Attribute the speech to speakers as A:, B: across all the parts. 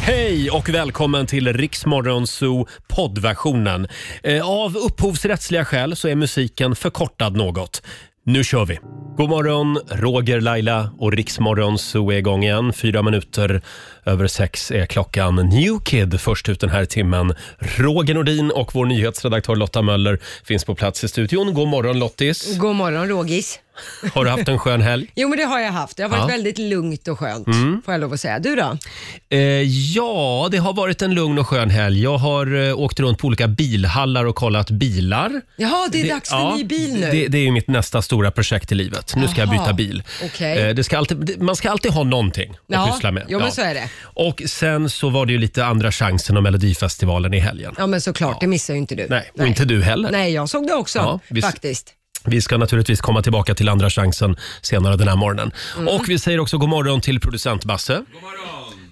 A: Hej och välkommen till Riksmorgon Zoo poddversionen. Eh, Av upphovsrättsliga skäl så är musiken förkortad något. Nu kör vi! God morgon, Roger, Laila och Riksmorgon Zoo är igång igen. Fyra minuter över sex är klockan. New Kid först ut den här timmen. Roger Nordin och vår nyhetsredaktör Lotta Möller finns på plats i studion. God morgon Lottis!
B: God morgon Rogis.
A: Har du haft en skön helg?
B: Jo men det har jag haft. Det har varit
A: Ja. Mm.
B: väldigt lugnt och skönt får jag lov att säga. Du då?
A: Eh, ja, det har varit en lugn och skön helg. Jag har eh, åkt runt på olika bilhallar och kollat bilar.
B: Jaha, det är dags för
A: ja,
B: ny bil nu.
A: Det, det är ju mitt nästa stora projekt i livet. Nu ska jag
B: Jaha,
A: byta bil.
B: okej.
A: Eh, det ska alltid, det- man ska alltid ha någonting att
B: Ja,
A: pyssla med.
B: jo, men så är det.
A: Och sen så var det ju lite Andra chansen och Melodifestivalen i helgen.
B: Ja men såklart, det missar ju inte du.
A: Nej, och inte du heller.
B: Nej, jag såg det också
A: Ja, visst.
B: faktiskt.
A: Vi ska naturligtvis komma tillbaka till Andra chansen senare den här morgonen.
B: Mm.
A: Och vi säger också god morgon till producent Basse.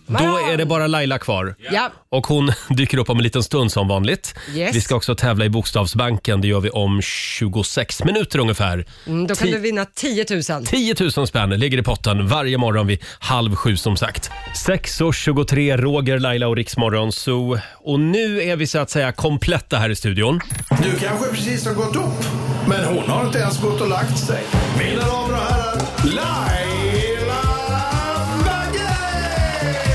A: Då är det bara Laila kvar.
B: Ja.
A: Och hon dyker upp om en liten stund som vanligt.
B: Yes.
A: Vi ska också tävla i Bokstavsbanken. Det gör vi om 26 minuter ungefär.
B: Mm, då kan
A: Ti-
B: du vinna 10 000.
A: 10 000 spänn ligger i potten varje morgon vid halv sju som sagt. 6.23, Roger, Laila och Riksmorgon Zoo. Och nu är vi så att säga kompletta här i studion.
C: Du kanske precis har gått upp, men hon har inte ens gått och lagt sig. Mina damer och herrar, Laila Bagge!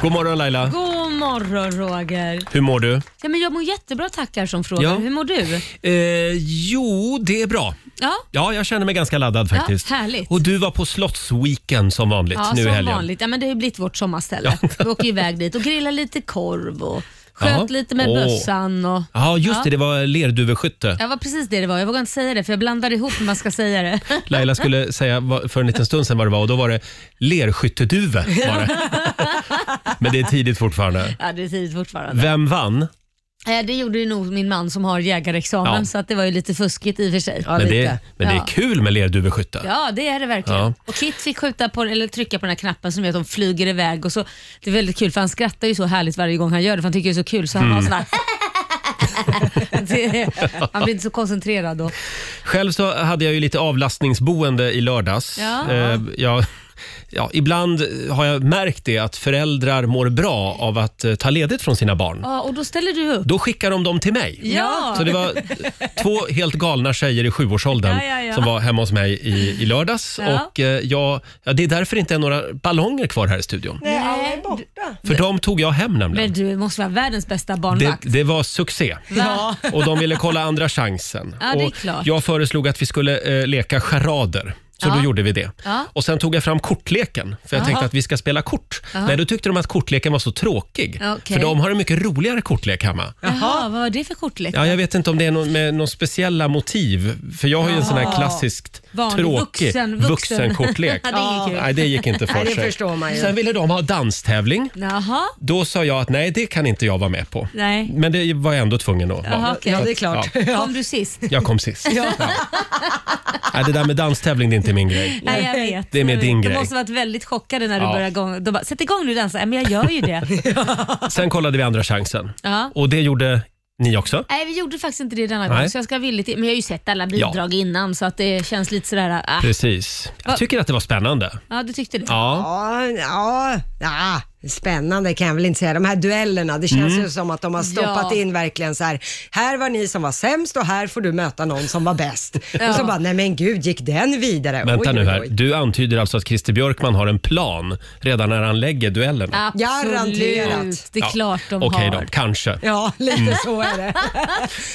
A: God morgon Laila,
D: God morgon Roger.
A: hur mår du?
D: Ja, men jag mår jättebra tackar som frågar.
A: Ja.
D: Hur mår du?
A: Eh, jo, det är bra.
D: Ja,
A: Ja, jag känner mig ganska laddad
D: Ja,
A: faktiskt.
D: härligt.
A: Och du var på Slottsweekend som vanligt
D: ja
A: nu i
D: som
A: helgen.
D: vanligt. Ja, men det har ju blivit vårt sommarställe.
A: Ja.
D: Vi åker ju iväg dit och grillar lite korv och sköt
A: Ja.
D: lite med
A: Åh.
D: bössan. Och...
A: Ja, just det. Det var lerduveskytte.
D: Ja, var precis det det var. Jag vågar inte säga det för jag blandar ihop hur man ska säga det.
A: Laila skulle säga vad- för en liten stund sedan vad det var och då var det lerskytteduve. Var det. Men det är tidigt fortfarande.
D: Ja, det är tidigt fortfarande.
A: Vem vann?
D: Eh, Det gjorde ju nog min man som har jägarexamen
A: Ja.
D: så att det var ju lite fuskigt i och för sig.
B: Ja,
A: Men
B: lite.
A: det, men det
D: Ja.
A: är kul med lerduveskytte.
D: Ja, det är det verkligen.
A: Ja.
D: Och Kit fick skjuta på, eller trycka på den här knappen som gör att de flyger iväg. Och så, det är väldigt kul för han skrattar ju så härligt varje gång han gör det för han tycker det är så kul. Så han
A: Mm.
D: har sån här det, Han blir inte så koncentrerad då.
A: Själv så hade jag ju lite avlastningsboende i lördags.
D: Ja.
A: Eh, jag, ja, ibland har jag märkt det att föräldrar mår bra av att eh, ta ledigt från sina barn.
D: Ja, och då ställer du upp.
A: Då skickar de dem till mig.
D: Ja.
A: Så det var två helt galna tjejer i sjuårsåldern
D: Ja, ja, ja.
A: som var hemma hos mig i, i lördags.
D: Ja.
A: Och, eh, jag, ja, det är därför det inte är några ballonger kvar här i studion.
B: Nej, alla är borta.
A: För dem tog jag hem
D: Men
A: nämligen.
D: du måste vara världens bästa
A: Det,
D: barnvakt.
A: det var succé.
D: Va?
A: Och de ville kolla andra chansen.
D: Ja, det är
A: och
D: klart.
A: jag föreslog att vi skulle eh, leka charader. Så
D: Ja.
A: då gjorde vi det.
D: Ja.
A: Och sen tog jag fram kortleken, för jag tänkte att vi ska spela kort. Nej, då tyckte de att kortleken var så tråkig.
D: Okej.
A: För de har en mycket roligare kortlek hemma.
D: Jaha, vad var det för kortlek?
A: Ja, jag vet inte om det är någon, med någon speciella motiv. För jag har ju en sån här klassiskt
D: Vanlig
A: tråkig
D: vuxen- vuxen.
A: vuxenkortlek.
D: Ja, det är inget kul.
A: Nej, det gick inte för
B: Nej, det
A: sig.
B: förstår man ju.
A: Sen ville de ha danstävling.
D: Jaha,
A: Då sa jag att nej, det kan inte jag vara med på.
D: Nej.
A: Men det var jag ändå tvungen att
D: Jaha,
A: vara.
D: okej.
B: Ja, det är klart.
A: Ja.
D: kom du sist?
A: Jag kom sist. Ja. Nej, det där med danstävling, det är inte min grej.
D: Nej, jag vet.
A: Det är mer
D: Jag vet.
A: din
D: de
A: grej.
D: måste ha varit väldigt chockade när
A: Ja.
D: du började gång. De bara, sätt igång nu dansa. Ja, men jag gör ju det.
A: Sen kollade vi andra chansen.
D: Ja.
A: Och det gjorde ni också.
D: Nej, vi gjorde faktiskt inte det denna
A: Nej.
D: gång, så jag ska villigt Men jag har ju sett alla bidrag innan, så att det känns lite sådär... Ah.
A: Precis. Jag tycker att det var spännande.
D: Ja, du tyckte det?
A: Ja.
B: Ja, ja, ja, spännande kan jag väl inte säga. De här duellerna, det känns ju som att de har stoppat
D: Mm. Ja.
B: in verkligen så här. Här var ni som var sämst och här får du möta någon som var bäst. Och så bara, nej men gud, gick den vidare?
A: Vänta
B: Oj,
A: nu
B: oj,
A: här.
B: oj.
A: Du antyder alltså att Christer Björkman har en plan redan när han lägger duellerna?
B: Garanterat.
D: Absolut. Det är
A: Ja,
D: klart de
A: Okej
D: har.
A: då, kanske.
B: Ja, lite så är det.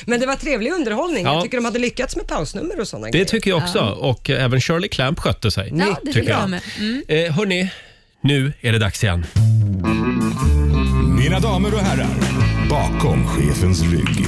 B: Men det var trevlig underhållning.
A: Mm. Ja.
B: Jag tycker de hade lyckats med pausnummer och sådana
A: Det
B: grejer.
A: tycker jag också. Och eh, även Shirley Clamp skötte sig.
D: Ja, det tycker jag med. Mm.
A: Eh, hörni, nu är det dags igen.
C: Mina damer och herrar, bakom chefens rygg.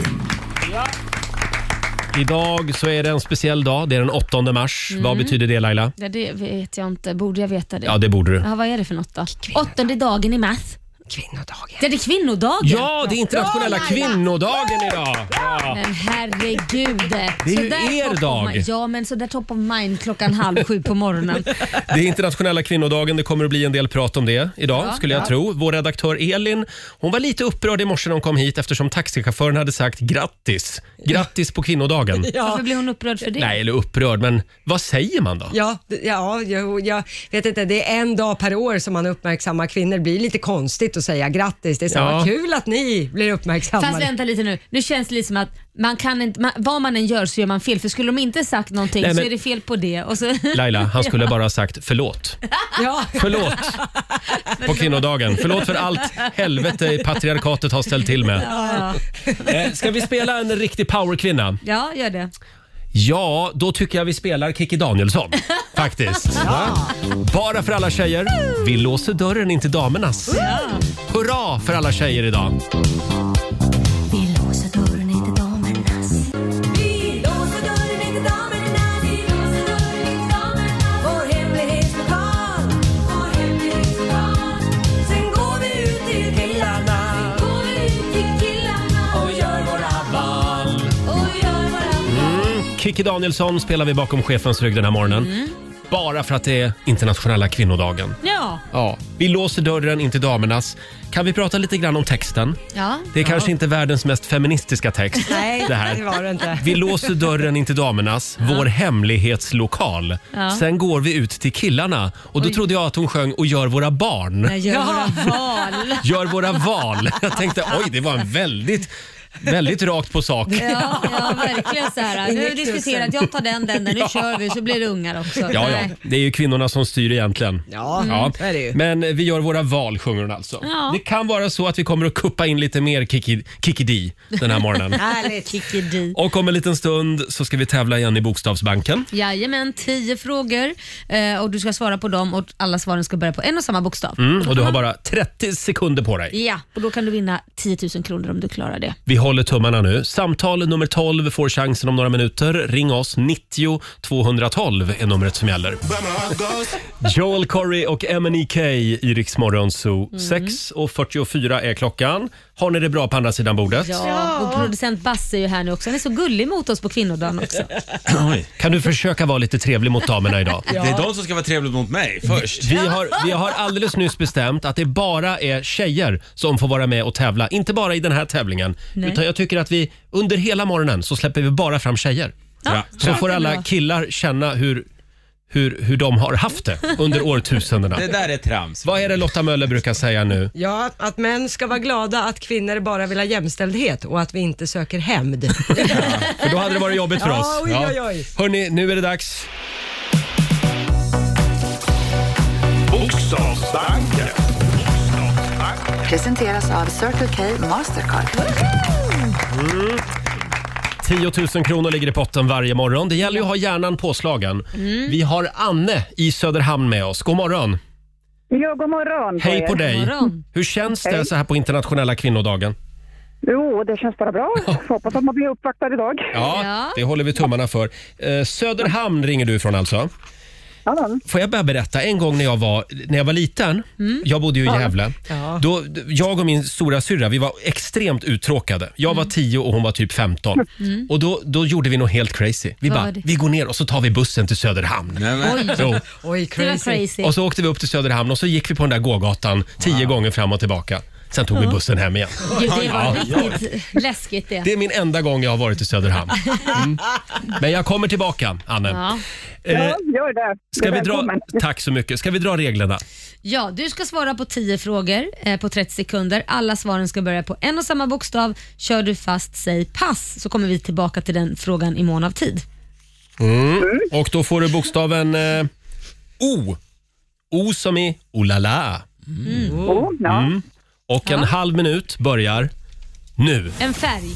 A: Idag så är det en speciell dag. Det är den 8 mars.
D: Mm.
A: Vad betyder det Laila?
D: Ja, det vet jag inte. Borde jag veta det?
A: Ja, det borde du.
D: Ja, vad är det för något då? Åttonde dagen i math.
B: Kvinnodagen.
D: Det är kvinnodagen.
A: Ja, det är internationella
D: Bra, Laila.
A: kvinnodagen idag! Ja.
D: Men herregud.
A: Det är
D: Så
A: ju
D: där
A: er
D: top of
A: dag.
D: mind- Ja, men så där top of mind klockan halv sju på morgonen.
A: Det är internationella kvinnodagen, det kommer att bli en del prat om det idag
D: Ja,
A: skulle jag
D: ja.
A: tro. Vår redaktör Elin, hon var lite upprörd i morse när hon kom hit eftersom taxichauffören hade sagt grattis. Grattis på kvinnodagen.
B: Ja.
D: Varför blir hon upprörd för det?
A: Nej, eller upprörd, men vad säger man då?
B: Ja, d- ja jag, jag vet inte. Det är en dag per år som man uppmärksammar kvinnor. Det blir lite konstigt att säga grattis. Det är så
A: Ja.
B: ja. kul att ni blir uppmärksammade.
D: Fast vänta lite nu. Nu känns det lite som att man kan inte, man, vad man än gör så gör man fel. För skulle de inte sagt någonting
A: Nej, men-
D: så är det fel på det. Och så,
A: Laila, han skulle bara ha sagt förlåt.
B: Ja.
A: Förlåt på kvinnodagen. Förlåt för allt helvete patriarkatet har ställt till med.
D: ja,
A: Eh, Ska vi spela en riktig powerkvinna?
D: ja, gör det.
A: Ja, då tycker jag vi spelar Kikki Danielsson. Faktiskt. Bara för alla tjejer. Vi låser dörren in till damernas. Hurra för alla tjejer idag.
E: Vi låser dörren in till damernas. Vi låser dörren in till damernas. Vi låser dörren in till damernas. Vår hemlighetslokal. Vår hemlighetslokal. Sen går vi ut till killarna. Sen går vi ut till killarna. Och gör våra val. Och gör våra val.
A: Kikki Danielsson spelar vi bakom chefens rygg den här morgonen. Bara för att det är internationella kvinnodagen.
D: Ja.
A: Ja. Vi låser dörren in till damernas. Kan vi prata lite grann om texten?
D: Ja.
A: Det är kanske inte världens mest feministiska text.
B: Nej,
A: det
B: det,
A: här.
B: var det inte.
A: Vi låser dörren in till damernas, vår hemlighetslokal.
D: Ja.
A: Sen går vi ut till killarna och då trodde jag att hon sjöng och gör våra barn.
D: Jag gör våra val.
A: Gör våra val. Jag tänkte oj, det var en väldigt, väldigt rakt på sak.
D: Ja, ja, verkligen så här. Nu har vi diskuterat, jag tar den, den, den. Nu kör vi så blir det ungar också.
A: Ja, ja,
D: Nej.
A: det är ju kvinnorna som styr egentligen.
B: Ja,
A: Ja.
B: det Mm. är det ju.
A: Men vi gör våra val, sjunger hon alltså.
D: Ja.
A: Det kan vara så att vi kommer att kuppa in lite mer Kiki, Kiki Dee den här morgonen.
B: Härligt.
D: Kikki Dee.
A: Och om en liten stund så ska vi tävla igen i Bokstavsbanken.
D: Jajamän, tio frågor eh, och du ska svara på dem och alla svaren ska börja på en och samma bokstav.
A: Mm, och du har bara 30 sekunder på dig.
D: Ja, och då kan du vinna 10 000 kronor om du klarar det.
A: Vi håller tummarna nu. Samtal nummer 12 får chansen om några minuter. Ring oss. 90 212 är numret som gäller. Joel Corey och MNEK i Rix Morgon Zoo.
B: Mm.
A: 6.44 är klockan. Har ni det bra på andra sidan bordet?
D: Ja, och producent Basse är ju här nu också. Han är så gullig mot oss på kvinnodagen också.
F: Oj.
A: Kan du försöka vara lite trevlig mot damerna idag?
F: Det är de som ska vara trevliga mot mig först.
A: Vi har, vi har alldeles nyss bestämt att det bara är tjejer som får vara med och tävla. Inte bara i den här tävlingen.
D: Nej.
A: Utan jag tycker att vi under hela morgonen så släpper vi bara fram tjejer.
F: Ja.
A: Så
D: Ja.
A: får alla killar känna hur, hur, hur de har haft det under årtusendena.
F: Det där är trams.
A: Vad är det Lotta Möller brukar säga nu?
B: Ja, att män ska vara glada att kvinnor bara vill ha jämställdhet och att vi inte söker hämnd.
A: För då hade det varit jobbigt för
B: Ja,
A: oss.
B: oj, oj, oj.
A: Hörni, nu är det dags.
C: Bokstavsbanken.
G: Presenteras av Circle K Mastercard.
A: 10 000 kronor ligger i potten varje morgon. Det gäller ju att ha hjärnan påslagen.
B: Mm.
A: Vi har Anne i Söderhamn med oss. God morgon!
H: Ja, god morgon. på
A: Hej
H: er.
A: på dig!
D: morgon.
A: Hur känns det så här på internationella kvinnodagen?
H: Jo, det känns bara bra. Hoppas att man blir uppvaktad idag.
A: Ja,
D: Ja.
A: det håller vi tummarna för. Eh, Söderhamn ringer du ifrån alltså.
H: Ja, men.
A: Får jag bara berätta, en gång när jag var, när jag var liten,
D: Mm.
A: jag bodde ju i Gävle. Då, d- jag och min stora syrra, vi var extremt uttråkade. Jag
D: Mm.
A: var 10 och hon var typ 15. Och då, då gjorde vi något helt crazy. Vi
D: Vad
A: bara,
D: var det?
A: vi går ner och så tar vi bussen till Söderhamn.
F: Nej, men,
A: Jo.
B: Oj,
D: Det var
B: crazy.
D: crazy.
A: Och så åkte vi upp till Söderhamn och så gick vi på den där gågatan tio gånger fram och tillbaka. Sen tog vi bussen hem igen.
D: Gud, det var
A: Ja.
D: riktigt läskigt det.
A: Det är min enda gång jag har varit i Söderhamn. Mm. Men jag kommer tillbaka, Anne.
D: Ja.
A: Eh,
H: Ja, gör det.
A: ska vi dra,
H: Välkommen.
A: tack så mycket. Ska vi dra reglerna?
D: ja, du ska svara på 10 frågor eh, på 30 sekunder. Alla svaren ska börja på en och samma bokstav. Kör du fast, säg pass, så kommer vi tillbaka till den frågan i mån av tid.
A: Och då får du bokstaven eh, O. O som i olala.
H: Oh, ja.
A: Mm. Och en halv minut börjar nu.
D: En färg,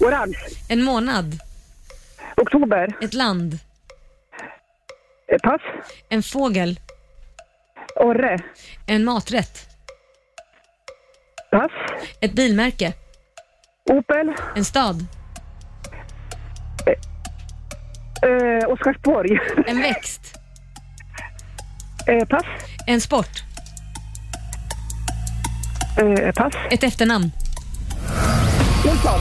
H: Orange.
D: en månad,
H: Oktober.
D: ett land,
H: Eh, Pass.
D: en fågel,
H: Orre.
D: en maträtt,
H: Pass.
D: ett bilmärke,
H: Opel.
D: en stad,
H: Eh, Oskarsborg.
D: en växt,
H: Eh, pass.
D: en sport,
H: Eh, pass.
D: Ett efternamn.
H: Olsson.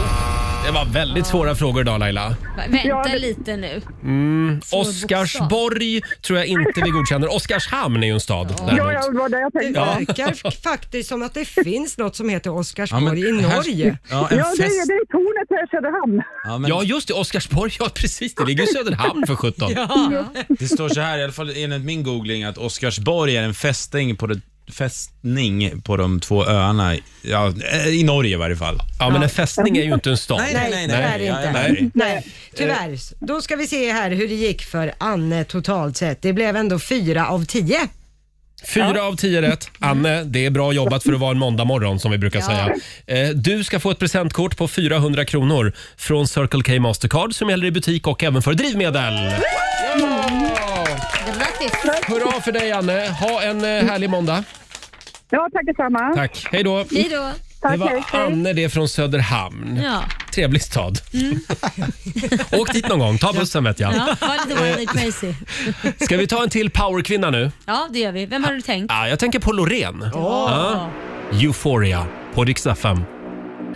A: Det var väldigt svåra frågor idag Laila.
D: Va, Vänta
H: Ja, det-
D: lite nu. Svår
A: Mm, Oscarsborg tror jag inte vi godkänner. Oskarshamn är ju en stad.
H: Ja,
A: däremot.
H: ja, det var det jag tänkte.
A: Ja.
H: Ja,
B: verkar f- faktiskt som att det finns något som heter
F: men
B: Oscarsborg i
F: här-
B: Norge.
F: Ja, en
H: det,
F: fest.
H: är, det är tornet här i Söderhamn.
F: Ja, men
A: Ja, just det. Oskarsborg. Ja, precis. Det ligger i Söderhamn för 17.
F: Det står så här, i alla fall enligt min googling, att Oscarsborg är en fästing på det fästning på de två öarna, ja, eh, i Norge i varje fall.
A: Ja, men en fästning är ju inte en stad.
B: Nej, det är det inte.
F: jag är med dig.
B: Nej, tyvärr. Då ska vi se här hur det gick för Anne totalt sett. Det blev ändå fyra av tio.
A: Fyra av tio rätt. Anne, det är bra jobbat för att vara en måndagmorgon som vi brukar säga. Eh, Du ska få ett presentkort på 400 kronor från Circle K Mastercard som gäller i butik och även för drivmedel.
E: Grattis!
A: Hurra för dig Anne! Ha en eh, härlig måndag.
H: Ja, tack detsamma.
A: Tack, hej då!
D: Hej då.
A: Det
H: Tack,
A: var
H: hej, hej.
A: Anne det från Söderhamn.
D: Ja.
A: Trevlig stad. Åk dit någon gång, ta bussen vet jag.
D: Ja, var lite wild and crazy.
A: Ska vi ta en till powerkvinna nu?
D: Ja, det gör vi. Vem har du tänkt?
A: Ja, jag tänker på Loreen. Ja. Euphoria på Rix FM.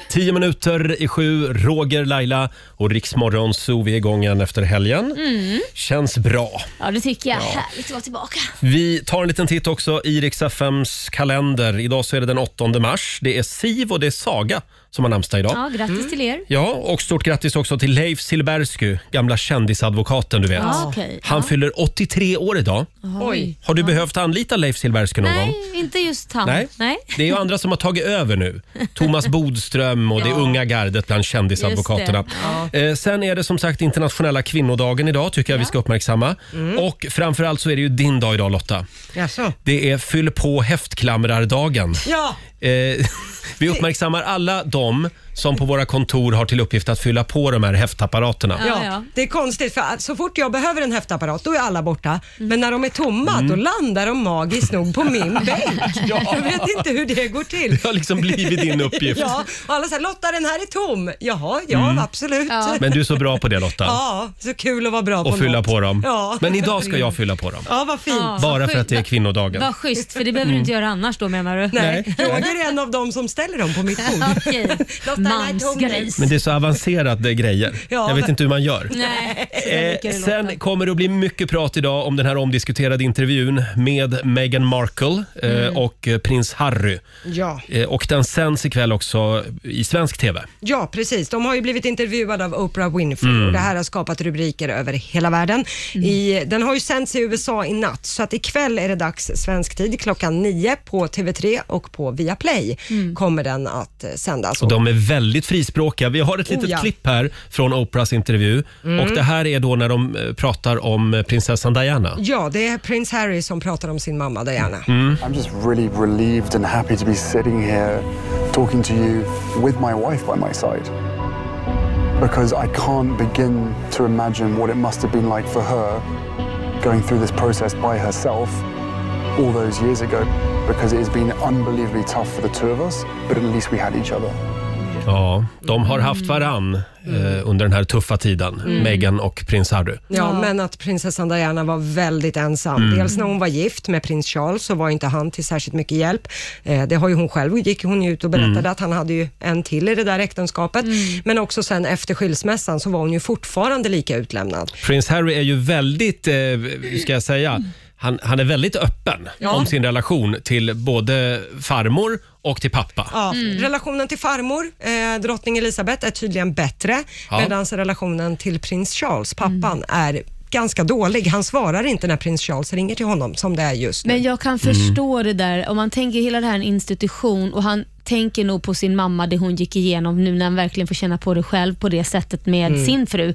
A: Tio minuter i sju, Roger, Laila och Riksmorgon Zoo. Vi är igång igen efter helgen.
D: Mm.
A: Känns bra.
D: Ja, det tycker jag. Härligt att vara tillbaka.
A: Vi tar en liten titt också i Rix FMs kalender. Idag så är det den 8 mars. Det är Siv och det är Saga som har namnsdag idag.
D: Ja, grattis till er.
A: Ja, och stort grattis också till Leif Silbersky, gamla kändisadvokaten du vet.
D: Ja, okej.
A: Han
D: Ja.
A: fyller 83 år idag.
B: Oj.
A: Har du behövt anlita Leif Silbersky någon gång?
D: Nej, inte just han.
A: Nej. Det är ju andra som har tagit över nu. Thomas Bodström och det
D: Ja.
A: unga gardet bland kändisadvokaterna. Eh, sen är det som sagt internationella kvinnodagen idag, tycker jag vi ska uppmärksamma. Och framförallt så är det ju din dag idag Lotta.
B: Jaså?
A: Det är fyll på häftklamrardagen.
B: Ja,
A: Eh, vi uppmärksammar alla de som på våra kontor har till uppgift att fylla på de här häftapparaterna.
D: Ja,
B: ja,
D: ja.
B: det är konstigt för att så fort jag behöver en häftapparat då är alla borta.
A: Mm.
B: Men när de är tomma då landar de magiskt nog på min bänk. Jag vet inte hur det går till.
A: Det har liksom blivit din uppgift. Mm.
B: Ja, och alla säger Lotta den här är tom. Jaha, ja absolut. Ja.
A: Men du är så bra på det Lotta.
B: så kul att vara bra på
A: Och fylla
B: något.
A: på dem.
B: Ja.
A: Men idag ska jag fylla på dem.
B: Ja, vad fint.
D: Ja,
A: Bara
D: vad
A: för att det är Mm.
D: schysst.
A: kvinnodagen.
D: Vad schysst, för det behöver du inte göra annars då menar du?
B: Nej. Roger är en av dem som ställer dem på mitt bord.
D: Okej.
B: Lotta,
D: Mansgris.
A: Men det är så avancerade grejer.
B: Ja.
A: jag vet inte hur man gör.
D: Nej, så där brukar
A: Eh,
D: det låta.
A: sen kommer det att bli mycket prat idag om den här omdiskuterade intervjun med Meghan Markle eh,
D: Mm.
A: och eh, prins Harry.
B: Ja.
A: Eh, och den sänds ikväll också i svensk TV.
B: ja, precis. De har ju blivit intervjuade av Oprah Winfrey
A: Mm.
B: och det här har skapat rubriker över hela världen. I, den har ju sänts i USA i natt, så att ikväll är det dags svensk tid klockan nio på TV3 och på Viaplay kommer den att eh, sändas.
A: Och de är väldigt frispråkiga. Vi har ett litet
B: Oh, ja.
A: klipp här från Oprahs intervju.
D: Mm.
A: Och det här är då när de eh, pratar om eh, prinsessan Diana.
D: Mm.
B: Ja, det är prins Harry som pratar om sin mamma Diana.
I: I'm just really relieved and happy to be sitting here talking to you with my wife by my side. Because I can't begin to imagine what it must have been like for her going through this process by herself all those years ago. Because it has been unbelievably tough for the two of us, but at least we had each other.
A: Ja, de har haft
D: Mm.
A: varann eh, under den här tuffa tiden, Meghan och prins Harry.
B: Ja, Mm. men att prinsessan Diana var väldigt ensam. Dels när hon var gift med prins Charles så var inte han till särskilt mycket hjälp. Eh, det har ju hon själv, gick hon ju ut och berättade att han hade ju en till i det där äktenskapet. Men också sen efter skilsmässan så var hon ju fortfarande lika utlämnad.
A: Prins Harry är ju väldigt, eh, ska jag säga, han, han är väldigt öppen om sin relation till både farmor och till pappa.
B: Ja, Mm. Relationen till farmor, eh, drottning Elisabeth, är tydligen bättre
A: Ja.
B: medan relationen till prins Charles, pappan, är ganska dålig. Han svarar inte när prins Charles ringer till honom som det är just nu.
A: Mm.
D: Men jag kan förstå det där. Om man tänker hela det här är en institution och han tänker nog på sin mamma, det hon gick igenom nu när han verkligen får känna på det själv på det sättet med
A: Mm.
D: sin fru.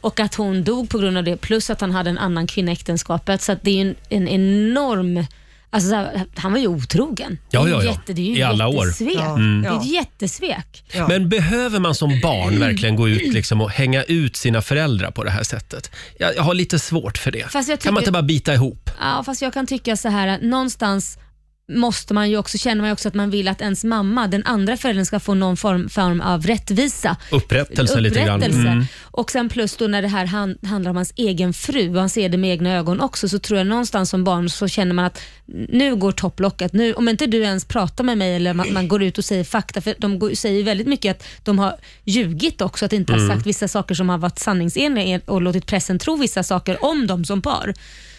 D: Och att hon dog på grund av det, plus att han hade en annan kvinna i äktenskapet. Så att det är ju en, en enorm... Alltså, så här, han var ju otrogen.
A: Ja,
D: Det är ju
A: ja, ja.
D: Jätte, det är ju
A: I alla år.
D: jättesvek.
B: Ja. Mm.
D: Det är ett jättesvek.
B: Ja.
A: Men behöver man som barn verkligen gå ut liksom och hänga ut sina föräldrar på det här sättet? Jag, jag har lite svårt för det.
D: Fast jag
A: Kan man
D: tycker-
A: inte bara bita ihop?
D: Ja, fast jag kan tycka så här att någonstans måste man ju också, känner man ju också att man vill att ens mamma, den andra föräldern, ska få någon form, form av rättvisa.
A: Upprättelse lite grann.
D: Upprättelse.
A: Mm.
D: Och sen plus då när det här han, handlar om hans egen fru och han ser det med egna ögon också, så tror jag någonstans som barn så känner man att nu går topplocket. Nu, om inte du ens pratar med mig eller man, man går ut och säger fakta, för de går, säger ju väldigt mycket att de har ljugit också, att inte ha
A: Mm.
D: sagt vissa saker som har varit sanningsenliga och låtit pressen tro vissa saker om dem som par.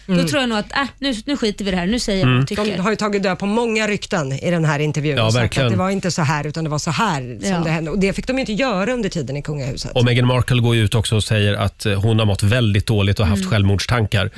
A: Mm.
D: Då tror jag nog att äh, nu, nu skiter vi i det här, nu säger jag vad jag tycker.
B: De har ju tagit död på många rykten i den här intervjun
A: Ja,
B: och sagt
A: verkligen.
B: att det var inte så här utan det var så här som
D: Ja.
B: det hände. Och det fick de ju inte göra under tiden i kungahuset.
A: Och Meghan Markle går ju ut också och säger att eh, hon har mått väldigt dåligt och haft
D: Mm.
A: självmordstankar.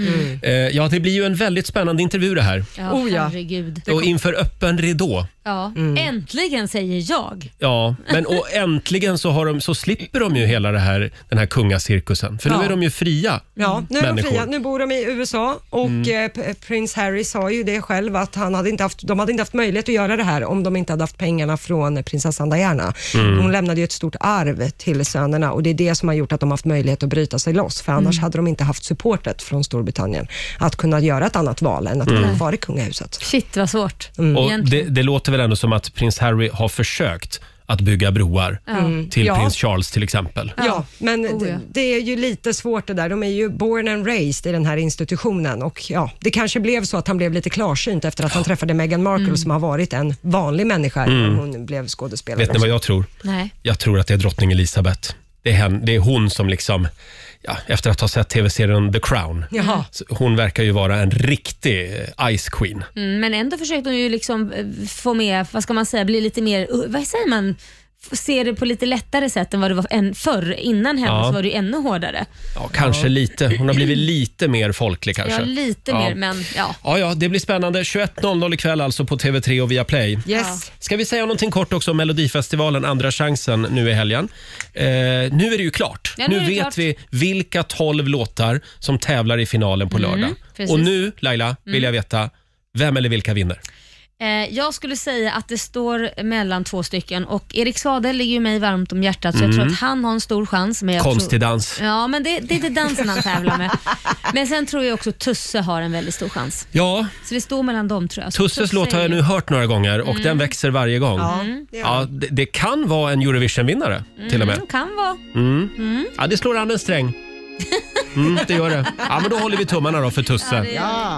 A: Eh, ja, det blir ju en väldigt spännande intervju det här.
D: Ja,
B: Oh ja.
D: herregud.
A: Och Mm. inför öppen ridå.
D: Ja. Äntligen säger jag.
A: Ja, men och äntligen så, har de, så slipper de ju hela det här, den här kungacirkusen. För nu
B: Ja.
A: är de ju fria.
B: Ja, nu är de
A: Människor. Mm.
B: fria. Nu bor de i USA och eh, p- prins Harry sa ju det själv att han hade inte haft, de hade inte haft möjlighet att göra det här om de inte hade haft pengarna från prinsessan Diana.
A: Mm.
B: Hon lämnade ju ett stort arv till sönerna och det är det som har gjort att de haft möjlighet att bryta sig loss för annars hade de inte haft supportet från Storbritannien att kunna göra ett annat val än att
A: Mm.
B: vara kvar i kungahuset.
D: Shit vad svårt.
A: Och det,
D: Egentligen.
A: det låter väl ändå som att prins Harry har försökt att bygga broar till
B: Mm. Ja.
A: prins Charles till exempel.
B: Ja, men
D: Oh, ja.
B: d- det är ju lite svårt det där. De är ju born and raised i den här institutionen och ja, det kanske blev så att han blev lite klarsynt efter att han träffade Meghan Markle som har varit en vanlig människa innan hon blev skådespelare.
A: Mm. Vet ni vad jag tror?
D: Nej.
A: Jag tror att det är drottning Elizabeth. Det är, hen, det är hon som liksom, ja, efter att ha sett tv-serien The Crown,
B: Jaha.
A: så hon verkar ju vara en riktig eh, Ice Queen.
D: Mm, men ändå försökte hon ju liksom eh, få med, vad ska man säga, bli lite mer, uh, vad säger man, F- se det på lite lättare sätt än vad det var än förr. Innan henne
A: Ja.
D: så var det ju ännu hårdare.
A: Ja, kanske lite. Hon har blivit lite mer folklig kanske.
D: Ja, lite
A: Ja.
D: mer men ja.
A: Ja, ja, det blir spännande. 21.00 ikväll alltså på TV3 och via Play.
B: Yes.
A: Ska vi säga någonting kort också om Melodifestivalen, Andra chansen, nu i helgen. Eh, nu är det ju klart.
D: Ja,
A: nu
D: nu är det
A: vet
D: klart.
A: vi vilka 12 låtar som tävlar i finalen på lördag.
D: Mm, precis. Mm.
A: Och nu, Laila, vill jag veta vem eller vilka vinner.
D: Eh, jag skulle säga att det står mellan två stycken och Erik Saade ligger ju mig varmt om hjärtat så jag
A: Mm.
D: tror att han har en stor chans. Men jag
A: Konstig
D: tror,
A: dans.
D: Ja, men det, det är inte dansen han tävlar med. Men sen tror jag också Tusse har en väldigt stor chans.
A: Ja,
D: Så det står mellan dem tror jag. Så
A: Tusses låt har
D: är
A: jag
D: ju-
A: nu hört några gånger och
D: Mm.
A: den växer varje gång. Ja.
B: det
A: det, det kan vara en Eurovision-vinnare till och med.
D: Mm, kan vara.
A: Ja, det slår an en sträng. Mm, det gör det. Ja, men då håller vi tummarna då för Tusse.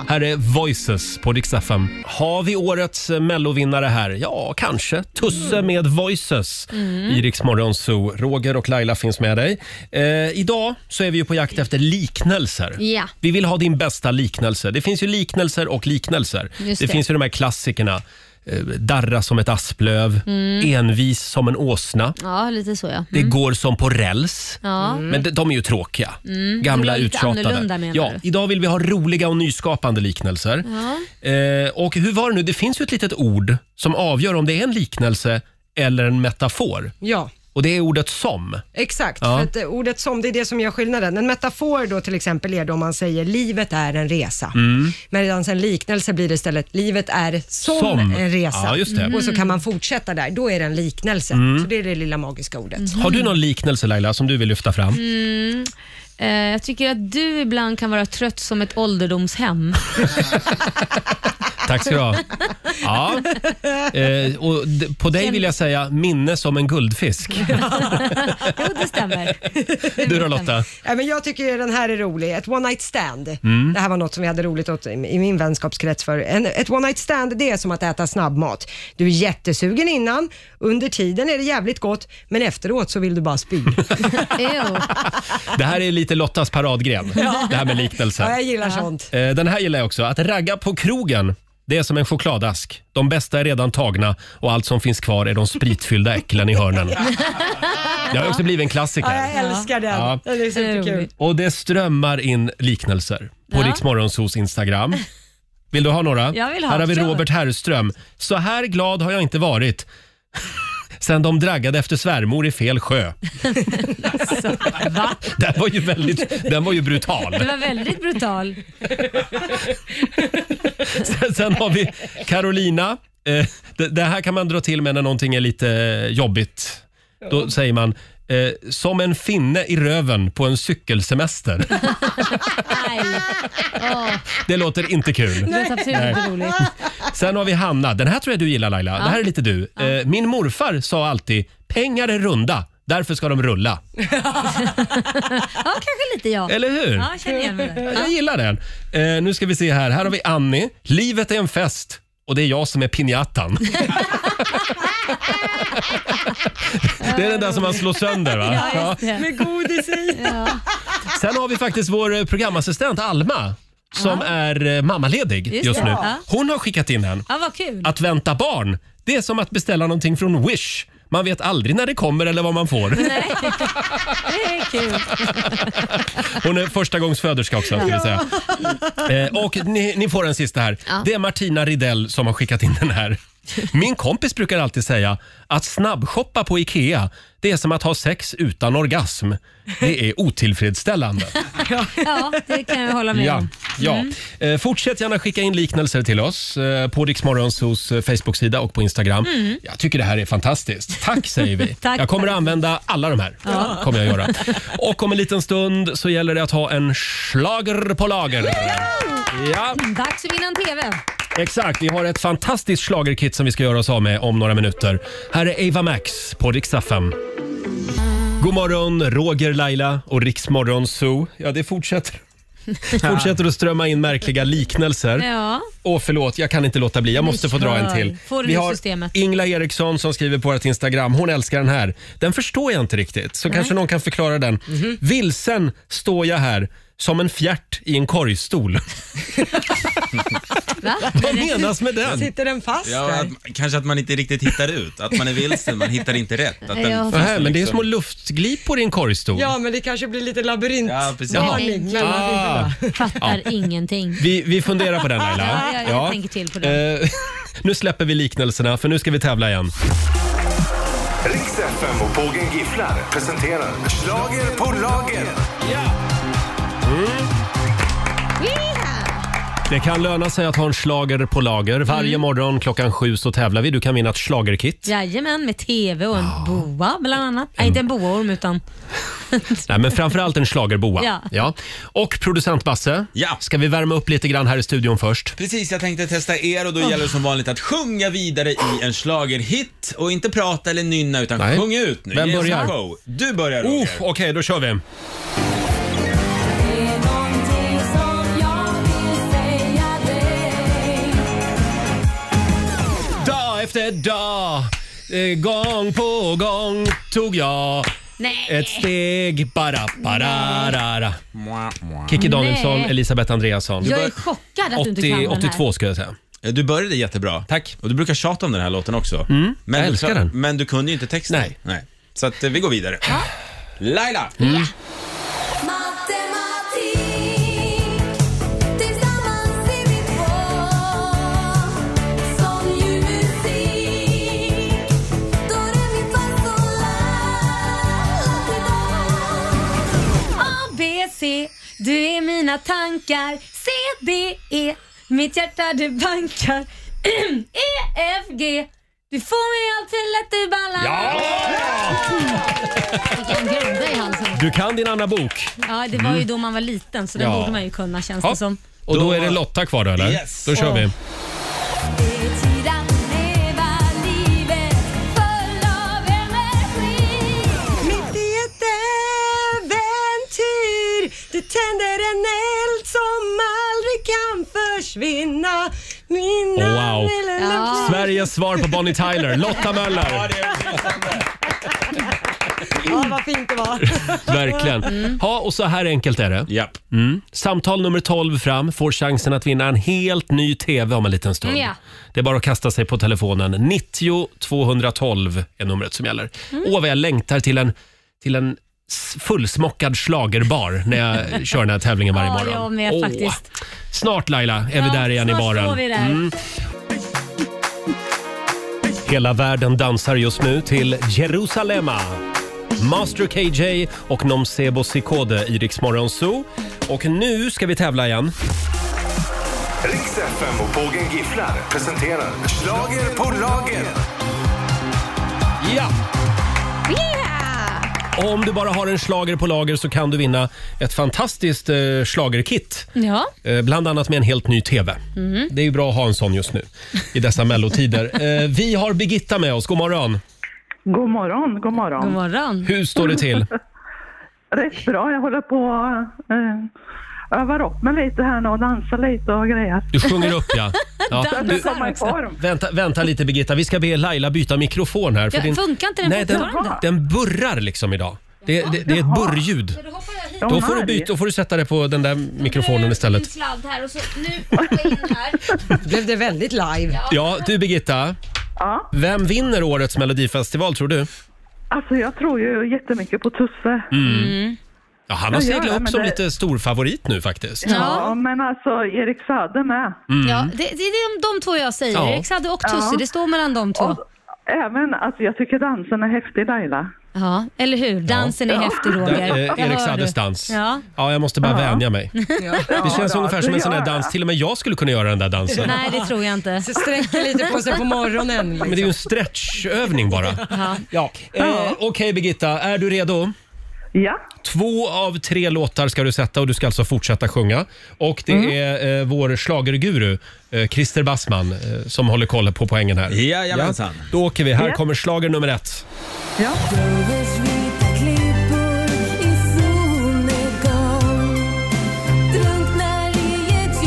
A: Här är Voices på Rix FM. Har vi årets eh, mellovinnare här? Ja, kanske. Tusse
D: Mm.
A: med Voices i Rix Morgon Zoo. Roger och Laila finns med dig. Eh, idag så är vi ju på jakt efter liknelser.
D: Ja.
A: Vi vill ha din bästa liknelse. Det finns ju liknelser och liknelser. Det,
D: Just det.
A: finns ju de här klassikerna. Eh, Darra som ett asplöv,
D: Mm.
A: envis som en åsna.
D: Ja, lite så ja.
A: Det går som på räls. Mm. Men de, de är ju tråkiga. Gamla
D: Mm. De är lite annorlunda,
A: uttjatade.
D: menar
A: Ja,
D: du?
A: idag vill vi ha roliga och nyskapande liknelser. Eh, och hur var det nu? Det finns ju ett litet ord som avgör om det är en liknelse eller en metafor.
B: Ja.
A: Och det är ordet som.
B: Exakt,
A: Ja.
B: för att eh, ordet som, det är det som gör skillnaden. En metafor då till exempel är då om man säger livet är en resa.
A: Mm.
B: Medan en liknelse blir det istället livet är som,
A: Som.
B: en resa.
A: Ja, just det. Mm.
B: Och så kan man fortsätta där, då är det en liknelse. Så det är det lilla magiska ordet.
A: Har
D: Mm.
A: du någon liknelse Laila som du vill lyfta fram?
D: Eh, jag tycker att du ibland kan vara trött som ett ålderdomshem.
A: Tack ska du ha. Ja. Eh, och d- på dig vill jag säga minne som en guldfisk.
D: jo, det stämmer.
A: Du då Lotta?
B: Ja, men jag tycker ju den här är rolig. Ett one night stand.
F: Mm.
B: Det här var något som vi hade roligt åt i i min vänskapskrets för. En, ett one night stand det är som att äta snabbmat. Du är jättesugen innan, under tiden är det jävligt gott, men efteråt så vill du bara spy.
D: Ew.
A: Det här är lite Lottas paradgren. Det här med liknelser.
B: ja, jag gillar sånt.
A: Eh, Den här gillar jag också. Att ragga på krogen, det är som en chokladask. De bästa är redan tagna och allt som finns kvar är de spritfyllda äcklen i hörnen. Det har ju också blivit en
B: Ja, jag
A: klassiker.
B: älskar den.
A: Ja.
B: Den är
D: Det är
B: superkul.
D: roligt.
A: Och det strömmar in liknelser på
D: Ja.
A: ja. Riksmorgonsos Instagram. Vill du ha några?
D: Jag vill ha,
A: här har vi
D: kör.
A: Robert Herrström. Så här glad har jag inte varit sen de draggade efter svärmor i fel sjö.
D: Så, Alltså, va?
A: Den var ju, väldigt, den var ju brutal.
D: Du var väldigt brutal.
A: Sen, sen har vi Carolina. Eh, det, det här kan man dra till med när någonting är lite eh, jobbigt. Då säger man eh, som en finne i röven på en cykelsemester.
D: Nej,
A: Det låter inte kul.
D: det låter absolut inte roligt.
A: Sen har vi Hanna. Den här tror jag du gillar Laila. Det här är lite du. Eh, min morfar sa alltid pengar är runda. Därför ska de rulla.
D: Ja, kanske lite jag.
A: Eller hur?
D: Ja, jag känner igen mig där.
A: Jag gillar den. Eh, nu ska vi se här. Här har vi Annie. Livet är en fest och det är jag som är pinjattan. det är den där som man slår sönder va?
D: Ja, just det.
B: Med godis i.
A: Sen har vi faktiskt vår eh, programassistent Alma som är eh, mammaledig
D: Just
A: just,
D: det.
A: nu.
D: Ja.
A: Hon har skickat in en.
D: Ja, vad kul.
A: Att vänta barn, det är som att beställa någonting från Wish. Man vet aldrig när det kommer eller vad man får.
D: Det är kul.
A: Hon är förstagångsföderska också. Ska vi säga. Eh, och ni, ni får en sista här. Det är Martina Ridell som har skickat in den här. Min kompis brukar alltid säga att snabbshoppa på IKEA det är som att ha sex utan orgasm. Det är otillfredsställande.
D: Ja, det kan jag hålla med
A: Ja,
D: om. Mm.
A: ja. Eh, fortsätt gärna skicka in liknelser till oss eh, på Riksmorgons hos eh, Facebook-sida och på Instagram. Jag tycker det här är fantastiskt. Tack säger vi.
D: Mm. Tack.
A: jag kommer att använda alla de här. Kommer jag göra. Och om en liten stund så gäller det att ha en slager på lager. Ja,
D: Dags för Vinnan TV.
A: exakt. Vi har ett fantastiskt slagerkit som vi ska göra oss av med om några minuter. Här är Ava Max på Riksdag 5. God morgon, Roger, Laila och Riksmorgon Zoo. Ja, det fortsätter. Fortsätter att strömma in märkliga liknelser.
D: Ja.
A: Åh förlåt, jag kan inte låta bli. Jag måste få dra en
D: Kör.
A: till.
D: Får du
A: Vi
D: ur
A: har
D: systemet.
A: Ingla Eriksson som skriver på vårt Instagram. Hon älskar den här. Den förstår jag inte riktigt, så kanske någon kan förklara den.
D: Mhm.
A: Vilsen står jag här som en fjärt i en korgstol.
D: Va?
A: Vad menas med den?
B: Sitter den fast
F: Ja,
B: där?
F: att, kanske att man inte riktigt hittar ut. Att man är vilsen, man hittar inte rätt. Att den,
D: Ja.
F: finns
A: Nähä, men det är
F: liksom-
A: små luftglipor i en korgstol.
B: Ja, men det kanske blir lite labyrint.
F: Ja, precis.
B: Varning, men man vill inte
A: Ah,
B: vara.
D: Fattar ingenting.
A: vi, vi funderar på den Laila.
D: Ja, jag, jag tänker till på det.
A: Eh, nu släpper vi liknelserna för nu ska vi tävla igen.
C: Riks FM och Pågen Gifflar presenterar Slager på lager.
A: Mm.
D: Mm.
A: Det kan löna sig att ha en slager på
D: Mm.
A: lager. Varje morgon klockan sju så tävlar vi. Du kan vinna ett schlagerkit.
D: Jajamän, med TV och en boa bland annat. Nej, inte en boaorm utan...
A: Nej, men framförallt en schlagerboa.
D: Ja.
A: Och producent Basse,
F: Ja.
A: ska vi värma upp lite grann här i studion först?
F: Precis, jag tänkte testa er och då gäller det som
A: Ah.
F: vanligt att sjunga vidare i en schlagerhit och inte prata eller nynna utan
A: Nej.
F: sjung ut nu.
A: Vem
F: Ge oss
A: börjar?
F: en show. Du börjar
A: Oh,
F: Roger.
A: Okej, då kör vi.
E: Det är någonting som jag vill säga dig
A: Dag efter dag, eh, gång på gång tog jag
D: Nej.
A: ett steg. Bara, bara, ra, ra.
F: Mwah, mwah.
A: Kikki Danielsson,
D: Nej.
A: Elisabeth Andreasson.
D: Jag är chockad att du inte kan
A: 80,
D: den här.
A: 82 skulle jag säga.
F: Du började jättebra.
A: Tack. Mm.
F: Och du brukar tjata om den här låten också. men
A: jag älskar
F: du,
A: den.
F: Men du kunde ju inte texten.
A: Nej. Mm.
F: Så att, eh, vi går vidare. Laila!
E: Matematik Tillsammans är vi två Som ju musik Då är vi fasola
D: A, B, C, du är mina tankar. C, D, E, mitt hjärta du bankar. e, F, G, du får mig allt till att du ballar. Vilken groda i halsen.
A: Du kan din Anna Bok.
D: Ja, det var ju då man var liten så den
A: Mm. Ja.
D: borde man ju kunna känns det som.
A: Och då
F: Då-
A: är det Lotta kvar då, eller?
F: Yes.
A: Då kör
D: Åh.
A: vi.
E: Det är tid att leva livet Full av energi
B: Mitt i ett äventyr Du tänder en eld som aldrig kan försvinna Min
A: Oh, Wow.
B: namn är
D: Ja.
B: Lotta.
A: Sveriges svar på Bonnie Tyler, Lotta
F: Ja,
A: Möller.
F: det är
B: Ja, vad fint det var.
A: Verkligen.
D: Mm.
A: Ja, och så här enkelt är det.
F: Japp.
A: Samtal nummer 12 fram får chansen att vinna en helt ny TV om en liten stund.
D: Ja.
A: Det är bara att kasta sig på telefonen. 90 212 är numret som gäller.
D: Mm.
A: Åh, vad jag längtar till en, till en s- fullsmockad slagerbar när jag kör den här tävlingen varje
D: Ja,
A: morgon.
D: jag med
A: Åh.
D: faktiskt.
A: Snart Laila är vi där igen i
D: snart
A: baren. Mm.
D: står vi där.
A: Hela världen dansar just nu till Jerusalema. Master KJ och Nomsebo Sikode i Rix Morgon Zoo. Och nu ska vi tävla igen.
C: Riks FM och Pågen Gifflar presenterar Slager på lager.
A: Ja! Och om du bara har en slager på lager så kan du vinna ett fantastiskt eh, slagerkit.
D: Ja.
A: Eh, Bland annat med en helt ny TV. Det är ju bra att ha en sån just nu i dessa mellotider. Eh, Vi har Birgitta med oss. God morgon.
H: God morgon, god morgon.
D: God morgon.
A: Hur står det till?
H: Rätt bra, jag håller på att eh, övar upp mig lite här nu och dansar lite och grejer.
A: Du sjunger upp ja. ja.
H: Så att jag kommer i form.
A: Vänta, vänta lite Birgitta, vi ska be Laila byta mikrofon här.
D: Ja, funkar inte den
A: Nej, den,
D: fortfarande?
A: den burrar liksom idag. Det, det, det är ett burrljud. Då får, du byta, då får du sätta det på den där mikrofonen istället.
E: sladd här och så nu går jag in här.
B: Blev det väldigt live?
A: Ja, du Birgitta.
H: Ja,
A: Vem vinner årets melodifestival tror du?
H: alltså jag tror ju jättemycket på Tusse.
A: Ja, han har
H: Ja, ja,
A: seglat upp
H: men
A: som
H: det-
A: lite stor favorit nu faktiskt.
D: Ja,
H: Ja, men alltså Erik Saade med.
D: ja det, det är de, de två jag säger.
A: Mm. Ja.
D: Erik Saade och Tusse,
H: Ja.
D: det står mellan de två.
H: Och även, alltså jag tycker dansen är häftig Laila.
D: Ja, eller hur? Dansen är häftig
A: Där,
D: Roger.
A: eh,
D: Jag
A: Erik
D: hör
A: Saades
D: du.
A: dans.
D: Ja.
A: Ja, jag måste bara vänja mig. Det känns
H: Ja,
A: ungefär som
H: det
A: en sån där
H: gör jag.
A: dans. Till och med jag skulle kunna göra den där dansen.
D: Nej, det tror jag inte.
B: Så sträcker lite på sig på morgonen.
A: Men det är ju en stretchövning bara. Ja. Eh, Okej Birgitta, är du redo?
H: Ja,
A: Två av tre låtar ska du sätta och du ska alltså fortsätta sjunga. Och det är eh, vår schlagerguru eh, Christer Bassman eh, som håller koll på poängen här.
F: Jajamensan.
A: Då åker vi. Här kommer schlager nummer ett.
H: ja.
E: Grovers vita klippor i solnedgång Drunknar i ett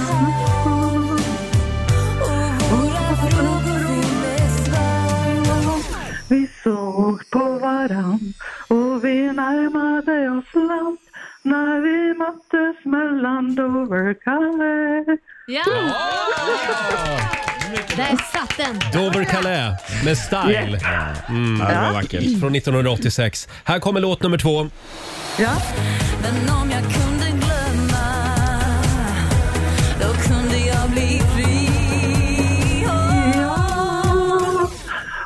E: ljudhav Och våra frågor fyller svar
H: Vi såg på varann och vi närmade oss land när vi möttes mellan Dover Calais.
D: Ja! Där satt den.
A: Dover Calais med Style Mm.
F: Ja, det var vackert.
A: från 1986. Här kommer låt nummer två.
H: Ja,
E: Men om jag kunde glömma Då kunde jag bli fri Åh,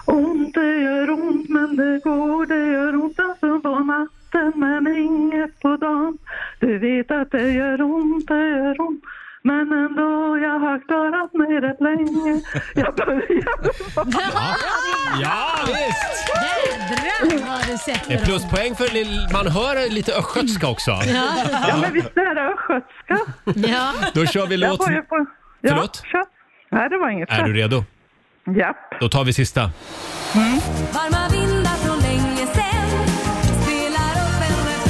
H: ont det gör ont men det går, det gör ont alltså på natten men inget på dagen. Du vet att det gör ont, det gör ont. Men ändå, jag har klarat mig rätt länge. Jag börjar...
A: Ja, visst!
D: Jädrar vad du
A: Det är
D: sätter dem.
A: pluspoäng för lill- man hör lite östgötska också.
H: Ja, men visst är det östgötska?
D: Ja.
A: Då kör vi
H: Jag
A: låt...
H: börjar på... Ja,
A: Förlåt?
H: kör. Nej, det var inget.
A: Är du redo?
H: Japp.
A: Då tar vi sista.
E: Varma vindar från länge sen Spelar upp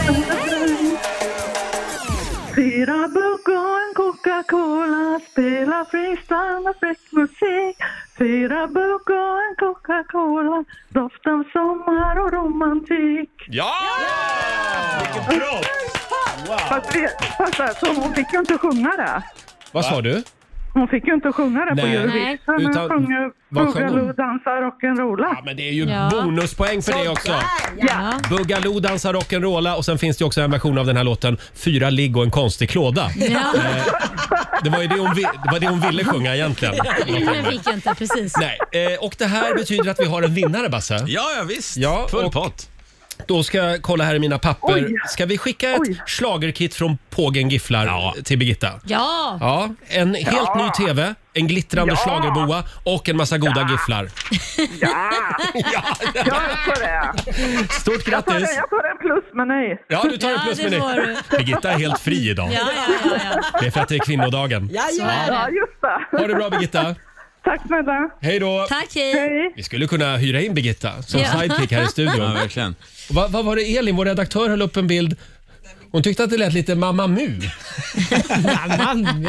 E: en refräng
H: Fyra bugg och en Coca-Cola Spela freestyle med fräck musik Fyra bugg och en Coca-Cola Doft av sommar och romantik
A: Ja!
H: Fast, vi, fast alltså, hon fick ju inte sjunga det.
A: Vad sa du?
H: Hon fick ju inte sjunga det på
A: Nej.
H: Eurovision.
A: Nej.
H: Hon
A: Utan-
H: sjöng ju
A: vad sjöng hon?
H: Boogaloo, dansa rock'n'rolla.
A: Ja, men det är ju
D: Ja.
A: bonuspoäng för det också.
D: Ja.
A: Boogaloo dansar rock'n'rolla och sen finns det ju också en version av den här låten, Fyra ligg och en konstig klåda.
D: Ja.
A: Det var ju det hon, vi, det var det hon ville sjunga egentligen.
D: Men fick jag inte, precis.
A: Nej, eh, och det här betyder att vi har en vinnare Basse.
F: Ja, ja visst.
A: Ja,
F: Full
A: och-
F: pott.
A: Då ska jag kolla här i mina papper.
H: Oj.
A: Ska vi skicka ett
H: Oj.
A: schlagerkit från Pågen Gifflar till Birgitta?
D: Ja!
A: Ja, en helt ny TV, en glittrande
H: Ja.
A: schlagerboa och en massa goda gifflar.
H: Ja,
A: Ja,
H: jag får det.
A: stort
H: Jag får, det.
A: grattis!
H: jag får en plus med nej.
A: Ja, du tar en
D: Ja,
A: plus
D: det
A: med
D: får
A: dig. Birgitta är helt fri idag.
D: Ja, ja, ja, ja.
A: Det är för att det är kvinnodagen.
H: Ja, just
A: Ha
H: det.
A: det bra Birgitta.
H: Tack snälla.
A: Hej då.
D: Tack, hej.
H: Hej.
A: Vi skulle kunna hyra in Birgitta som
D: Ja.
A: sidekick här i
F: Ja,
A: studion.
F: verkligen.
A: Vad vad var det Elin, vår redaktör, höll upp en bild? Hon tyckte att det lät lite Mamma Mu. Mamma Mu?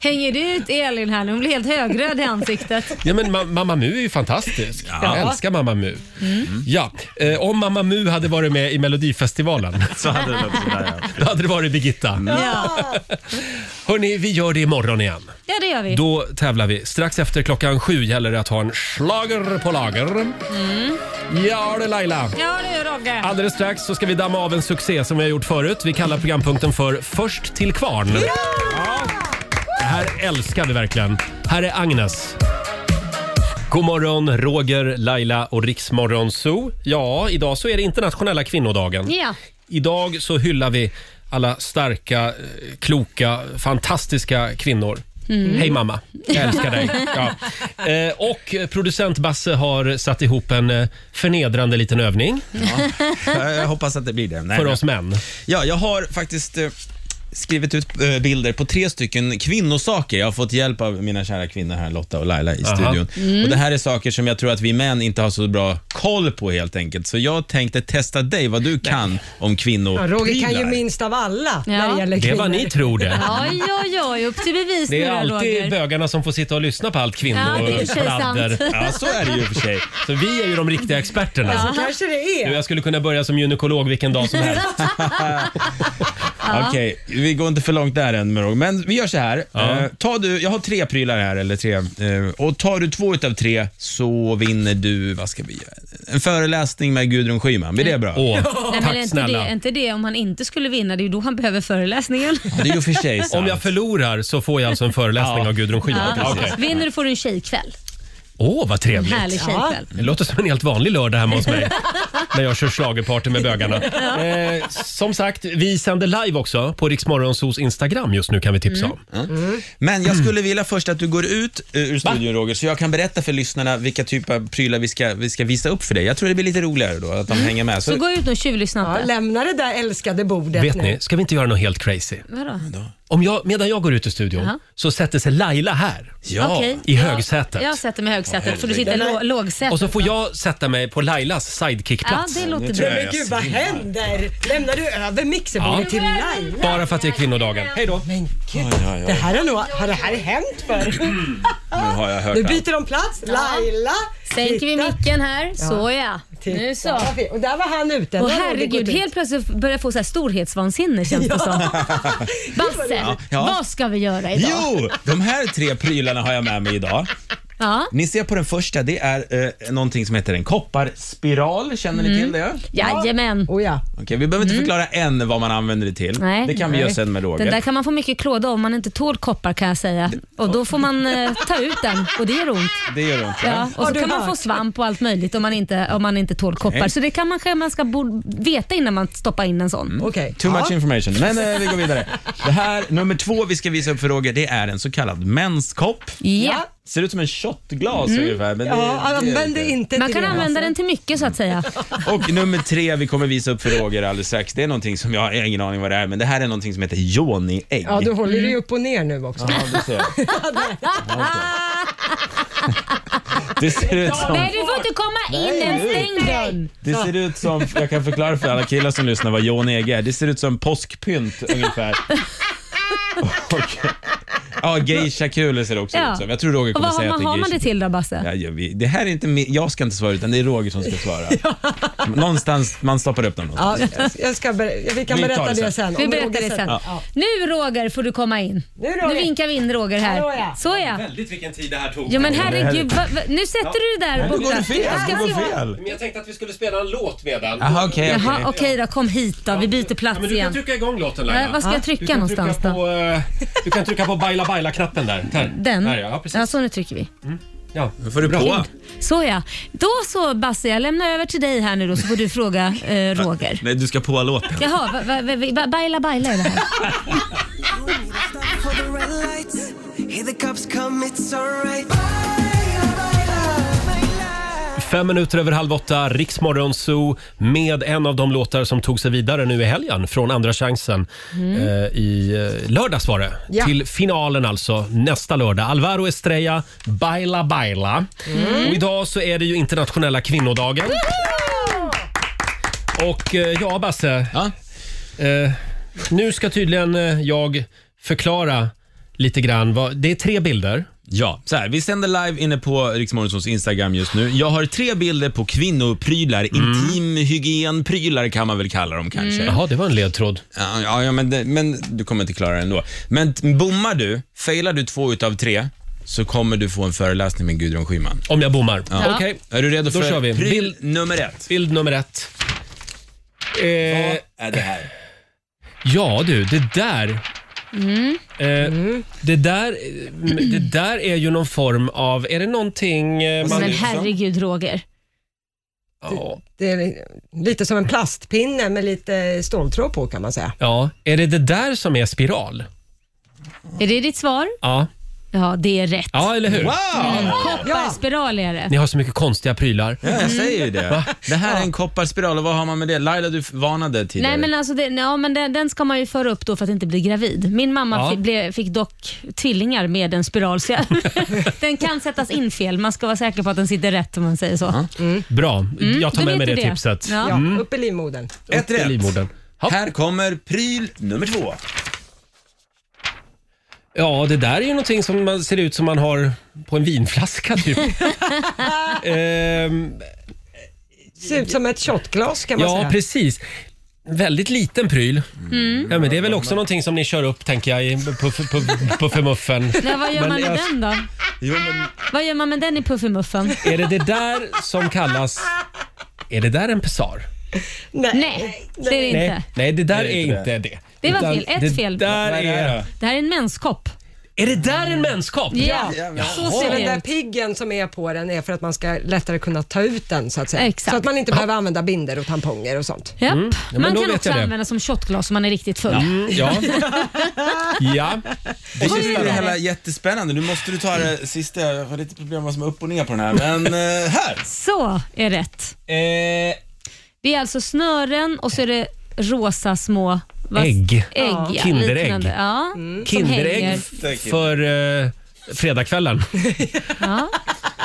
D: Hänger du ut Elin här nu? Hon blir helt högröd i ansiktet.
A: Ja, men Ma- Mamma Mu är ju fantastisk. Jag älskar Mamma Mu.
D: Mm.
A: Ja, eh, om Mamma Mu hade varit med i Melodifestivalen,
F: Så hade det låtit sådär ja.
A: då hade det varit Birgitta.
D: Ja,
A: Hörni, vi gör det imorgon igen.
D: ja det gör vi.
A: Då tävlar vi. Strax efter klockan sju gäller det att ha en slager på lager.
D: Mm.
A: Ja det Laila.
D: Ja, det gör Roger.
A: Alldeles strax så ska vi damma av en succé som vi har gjort förut. Vi kallar programpunkten för Först till kvarn. Ja. Det här älskar vi verkligen. Här är Agnes. God morgon, Roger, Laila och Riksmorgon Zoo. Ja, idag så är det internationella kvinnodagen.
D: Ja.
A: Idag så hyllar vi alla starka, eh, kloka, fantastiska kvinnor. Hej mamma, jag älskar dig. Ja. Eh, och producent Basse har satt ihop en eh, förnedrande liten övning
F: Jag jag hoppas att det blir det. Nej,
A: för
F: men-
A: oss män.
F: Ja, jag har faktiskt eh, skrivit ut eh, bilder på tre stycken kvinnosaker. Jag har fått hjälp av mina kära kvinnor här, Lotta och Laila i
A: Aha.
F: studion.
B: Mm.
F: Och Det här är saker som jag tror att vi män inte har så bra koll på helt enkelt. Så jag tänkte testa dig, vad du kan om
B: Ja,
F: kvinnor.
B: Roger kan ju
F: prylar.
B: minst av alla när
D: Ja.
B: det gäller
A: Det
B: kvinnor.
A: var ni tror det.
D: Oj, oj, oj. Upp till bevis
A: Det
D: nu
A: är
D: då,
A: alltid
D: Roger.
A: bögarna som får sitta och lyssna på allt
D: Ja, det är i och för sig
A: kvinnopladder.
D: sant.
F: Ja, så är det ju i och för sig.
A: Så vi är ju de riktiga experterna.
B: Så kanske det
A: Du,
B: är.
A: jag skulle kunna börja som gynekolog vilken dag som helst.
F: Okej, vi går inte för långt där än med Roger. Men vi gör så här.
A: Ja.
F: Eh, ta du, jag har tre prylar här, eller tre. Eh, och tar du två utav tre så vinner du, vad ska vi göra? En föreläsning med Gudrun Schyman. Blir det bra?
A: Åh,
D: Nej, men är
A: tack
D: inte det,
A: snälla.
D: är inte det om han inte skulle vinna? Det är ju då han behöver föreläsningen.
F: Det är ju för sig sant.
A: Om jag förlorar så får jag alltså en föreläsning
F: Ja.
A: av Gudrun Schyman.
D: Ja.
A: Okej.
D: Vinner du får du en tjejkväll.
A: Åh, vad
D: En
A: trevligt.
D: härlig tjejkväll.
A: Det låter som en helt vanlig lördag hemma hos mig när jag kör schlagerparty med bögarna. Eh, som sagt, vi sänder live också på Riksmorgonsos Instagram just nu kan vi tipsa
D: Mm.
A: om.
F: Men jag skulle vilja först att du går ut eh, ur studion Roger, så jag kan berätta för lyssnarna vilka typer av prylar vi ska, vi ska visa upp för dig. Jag tror det blir lite roligare då, att de hänger med.
D: Så
F: Så,
D: gå ut och tjuvlyssna
B: Ja,
D: inte.
B: lämna det där älskade bordet
A: Vet
B: nu.
A: ni, ska vi inte göra något helt crazy?
D: Vadå?
A: Om jag, medan jag går ut ur studion
D: Jaha.
A: så sätter sig Laila här
F: ja.
D: Okej.
A: i högsätet.
D: Jag sätter mig i högsätet för du sitter i
B: Den
D: lå-
B: här-
D: lågsätet.
A: Och så får jag sätta mig på Lailas
D: Ja,
A: sidekickplats.
D: det
F: Nu
D: låter
F: tror
D: bra.
F: jag
B: Men gud, vad händer? Lämnar du över mixerbordet
A: Ja.
B: till Laila?
A: Bara för att det är kvinnodagen. Hej då!
B: Men gud, det här har nog... Har det här hänt förr?
F: Nu har jag hört
B: Nu
F: allt.
B: byter de plats. Laila,
D: Sänker vi
B: titta,
D: micken här. Så ja.
B: titta.
D: Nu så.
B: Och där var han ute.
D: Och
B: Där har det gått
D: herregud,
B: ut.
D: helt plötsligt börjar jag få så här storhetsvansinne känns det som. Basse,
F: Ja.
D: vad ska vi göra idag?
F: Jo, de här tre prylarna har jag med mig idag.
D: Ja.
F: Ni ser på den första, det är eh, någonting som heter en kopparspiral. Känner ni till
D: Mm.
F: det?
D: Jajamän.
B: Oh, ja.
F: Okej, vi behöver inte förklara än vad man använder det till.
D: Mm. Nej.
F: det kan vi
D: Nej.
F: göra sen med Roger.
D: Den där kan man få mycket klåda om man inte tål koppar kan jag säga. Och då får man eh, ta ut den och det gör ont.
F: Det gör ont,
D: Ja,
F: ja.
D: och
B: Har
D: så
B: du
D: kan man
B: hört?
D: få svamp och allt möjligt om man inte, om man inte tål koppar.
F: Nej.
D: Så det kan man, kanske man ska bo, veta innan man stoppar in en sån.
F: Mm.
B: Okej.
F: Too much
B: Ja.
F: information. Men eh, vi går vidare. Det här, nummer två vi ska visa upp för Roger, det är en så kallad menskopp.
D: Ja.
F: Ser ut som en shotglas ungefär. Men
B: Ja, använd det inte
D: Man
B: till
D: kan
B: det,
D: använda
B: alltså.
D: den till mycket så att säga.
F: Och nummer tre vi kommer visa upp för Roger alldeles strax, det är någonting som jag har ingen aning vad det är, men det här är någonting som heter Joni-ägg.
B: alltså. Ja, du håller
D: Mm.
B: ju upp och ner nu också.
F: Ja, du ser. Det ser ut som,
D: Nej du får inte komma in den, stäng dörren.
F: det ser ut som, jag kan förklara för alla killar som lyssnar vad Joni-ägg är. Det ser ut som påskpynt ungefär. Och, ja, geisha-kulor ser det också
D: Ja.
F: ut som. Jag tror Roger
D: Och
F: kommer
D: vad har
F: säga
D: man, har
F: att
D: man
F: det är
D: det
F: geisha.
D: till då Basse?
F: Ja, ja, vi, det här är inte min, jag ska inte svara utan det är Roger som ska svara. Någonstans, man stoppar upp dem någonstans.
B: Ja, jag ska ber- vi kan
F: Vi tar
B: berätta
F: det sen.
B: det sen.
D: Vi
B: Om
D: berättar
B: Roger
D: det sen.
B: Ja.
D: Nu Roger får du komma in.
B: Nu, Roger.
D: nu vinkar vi in Roger här.
B: Hallå, ja.
D: Så ja.
A: Väldigt vilken tid det här tog.
D: Ja men herregud, va, va, nu sätter du dig där
F: Då går
D: borta.
F: det fel.
D: Jag
F: Det
D: ska
F: går
D: se vad-
F: fel.
A: Men jag tänkte att vi skulle spela en låt medan.
F: Jaha, okej. okej.
D: Jaha okej då, kom hit då. Vi byter
A: Ja,
D: plats
A: men du kan
D: igen.
A: trycka igång låten
D: Äh,
A: Laila.
D: vad ska jag
A: Du
D: trycka
A: kan trycka
D: någonstans då?
A: på, eh, du kan trycka på baila baila-knappen där. där.
D: Den?
A: Där, ja, ja, precis.
D: Ja, så nu trycker vi.
A: Ja.
F: får du på.
D: Så ja. Då så Basse, jag lämnar över till dig här nu då så får du fråga eh, Roger.
F: Nej, du ska på låten.
D: Jaha, va, va, va, va, baila baila är det här.
A: Fem minuter över halv åtta, Riksmorgon Zoo med en av de låtar som tog sig vidare nu i helgen från Andra chansen. Eh, I eh, lördags var det.
B: Ja.
A: Till finalen alltså, nästa lördag. Alvaro Estrella, Baila Baila. Och idag så är det ju internationella kvinnodagen. Och eh, ja, Basse.
F: Ja.
A: Eh, nu ska tydligen eh, jag förklara lite grann. Vad, det är tre bilder.
F: Ja, så här, vi sänder live inne på Riksmorgonsons Instagram just nu. Jag har tre bilder på kvinnoprylar, intimhygienprylar kan man väl kalla dem kanske.
A: Jaha, det var en ledtråd.
F: Ja, ja, ja men, det, men du kommer inte klara det ändå. Men t- bommar du, failar du två utav tre, så kommer du få en föreläsning med Gudrun Schyman.
A: Om jag bommar.
F: Ja.
A: Okej.
F: Är du redo
A: Då
F: för
A: kör vi.
F: pryl
A: Bild-
F: nummer ett?
A: Bild nummer ett. Eh,
F: Vad är det här?
A: ja du, det där. Eh, Det, där eh, det där är ju någon form av... Är det någonting eh, man...
D: Men
F: Magnusson.
D: herregud Roger.
A: Ja.
B: Det är lite som en plastpinne med lite ståltråd på kan man säga.
A: ja. Är det det där som är spiral?
D: Är det ditt svar?
A: Ja.
D: Ja, det är rätt.
A: Ja, eller hur?
F: Wow!
D: Kopparspiral är det.
A: Ni har så mycket konstiga prylar.
F: Ja, jag säger ju det. Det här är en kopparspiral och vad har man med det? Laila, du varnade tidigare.
D: Nej men, alltså det, ja, men den, den ska man ju föra upp då för att inte bli gravid. Min mamma
A: Ja.
D: fi- blev, fick dock tvillingar med en spiral. Så jag, den kan sättas in fel. Man ska vara säker på att den sitter rätt om man säger så.
A: Bra,
F: Mm,
A: jag tar
D: då
A: med mig
D: vet
A: det,
D: du det.
A: tipset.
D: Ja.
B: Ja, upp i livmodern.
F: Ett
A: I
F: rätt.
A: livmodern. Ja.
F: Här kommer pryl nummer två.
A: ja, det där är ju någonting som man ser ut som man har på en vinflaska typ. ehm,
B: Ser ut som ett shotglas kan man
A: ja,
B: säga.
A: precis. Väldigt liten pryl.
D: Mm.
A: Ja, men det är väl också någonting som ni kör upp tänker jag i- på, på, på, på förmuffen.
D: Nej, vad gör
A: Men
D: man med
A: jag-
D: den då?
F: Jo, men...
D: Vad gör man med den i Puffimuffen?
A: Är det det där som kallas... Är det där en pessar?
B: Nej.
D: Nej, det är det
A: Nej,
D: inte.
A: nej, det där
F: Det
A: är
F: är
A: inte
F: inte
A: det.
D: Det var
A: Utan
D: fel. Ett
A: det
D: fel.
A: Där
F: Vad är det
A: är,
F: då?
D: Det här är en menskopp.
A: är det där en menskopp?
D: Ja.
B: Så ser den
A: Mm.
B: där piggen som är på den är för att man ska lättare kunna ta ut den så att säga.
D: Exakt.
B: Så att man inte behöver använda binder och tamponger och sånt.
D: Japp.
A: men
D: man
A: då
D: kan
A: vet
D: också
A: jag det.
D: använda som shotglas om man är riktigt full.
A: Mm, ja. ja.
F: Det känns
D: är
F: ju
D: det?
F: hela jättespännande. Nu måste du ta det sista. Jag har lite problem med vad som är upp och ner på den här. Men eh, här!
D: Så är rätt.
F: Eh,
D: Det är alltså snören och så är det rosa små vad-
A: Ägg.
D: ägg ja.
A: Kinderägg.
D: liknande. Ja,
B: Mm.
D: som
A: Kinderägg
D: hänger.
A: f- för eh, fredagskvällen.
D: Ja.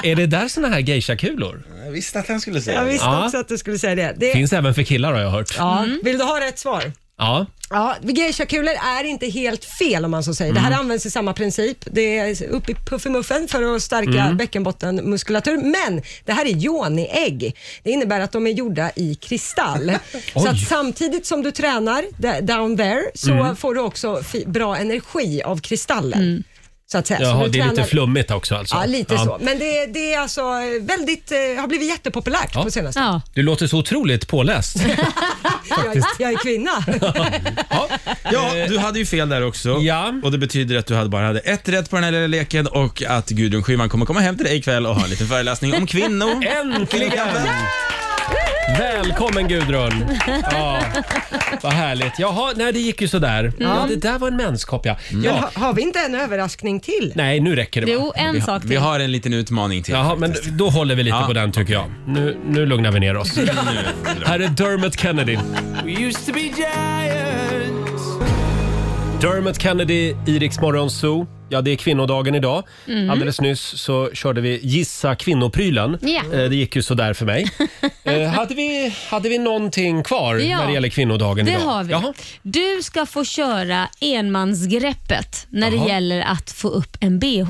A: Är det där såna här geishakulor?
F: jag visste att han skulle säga
B: Jag
F: det.
B: visste
A: Ja.
B: också att du skulle säga det. det
A: Finns även för killar har jag hört.
B: ja. Vill du ha rätt svar?
A: Ja.
B: Ja, geishakulor är inte helt fel om man så säger.
A: Mhm.
B: Det här används i samma princip. Det är upp i puffimuffen för att stärka
A: Mm.
B: bäckenbottenmuskulatur. Men det här är yoni-ägg. Det innebär att de är gjorda i kristall. så att samtidigt som du tränar d- down there så
A: Mm.
B: får du också fi- bra energi av kristallen. Så att säga. så
A: Jaha,
B: du
A: det är lite
B: tränar-
A: flummigt också alltså.
B: Ja, lite så. Men det, det är alltså väldigt, eh, har blivit jättepopulärt
A: Ja.
B: på senaste.
D: Ja.
A: Du låter så otroligt påläst.
B: Jag, jag är kvinna.
A: Ja.
F: Ja, du hade ju fel där också.
A: Ja.
F: Och det betyder att du hade bara hade ett rätt på den här lilla leken och att Gudrun Schyman kommer komma hem till dig ikväll och ha en liten föreläsning om kvinnor.
A: Äntligen! Välkommen Gudrun! Ja, vad härligt. Jaha, nej det gick ju sådär. Ja, det där var en menskopp ja.
B: Men
A: ja.
B: ha, har vi inte en överraskning till?
A: Nej, nu räcker det va?
D: Jo, en sak
F: Vi
D: till.
F: har en liten utmaning till.
A: Jaha, men då håller vi lite
F: Ja.
A: på den tycker jag. Nu, nu lugnar vi ner oss. Här är Dermot Kennedy. Dermot Kennedy, Iriks Zoo. Ja, det är kvinnodagen idag.
D: Mhm.
A: Alldeles nyss så körde vi Gissa kvinnoprylen.
D: Ja.
A: Eh, Det gick ju sådär för mig. eh, hade, vi, hade vi någonting kvar
D: Ja,
A: när det gäller kvinnodagen
D: Det
A: idag?
D: har vi.
A: Jaha.
D: Du ska få köra enmansgreppet när
A: Jaha.
D: det gäller att få upp en bh.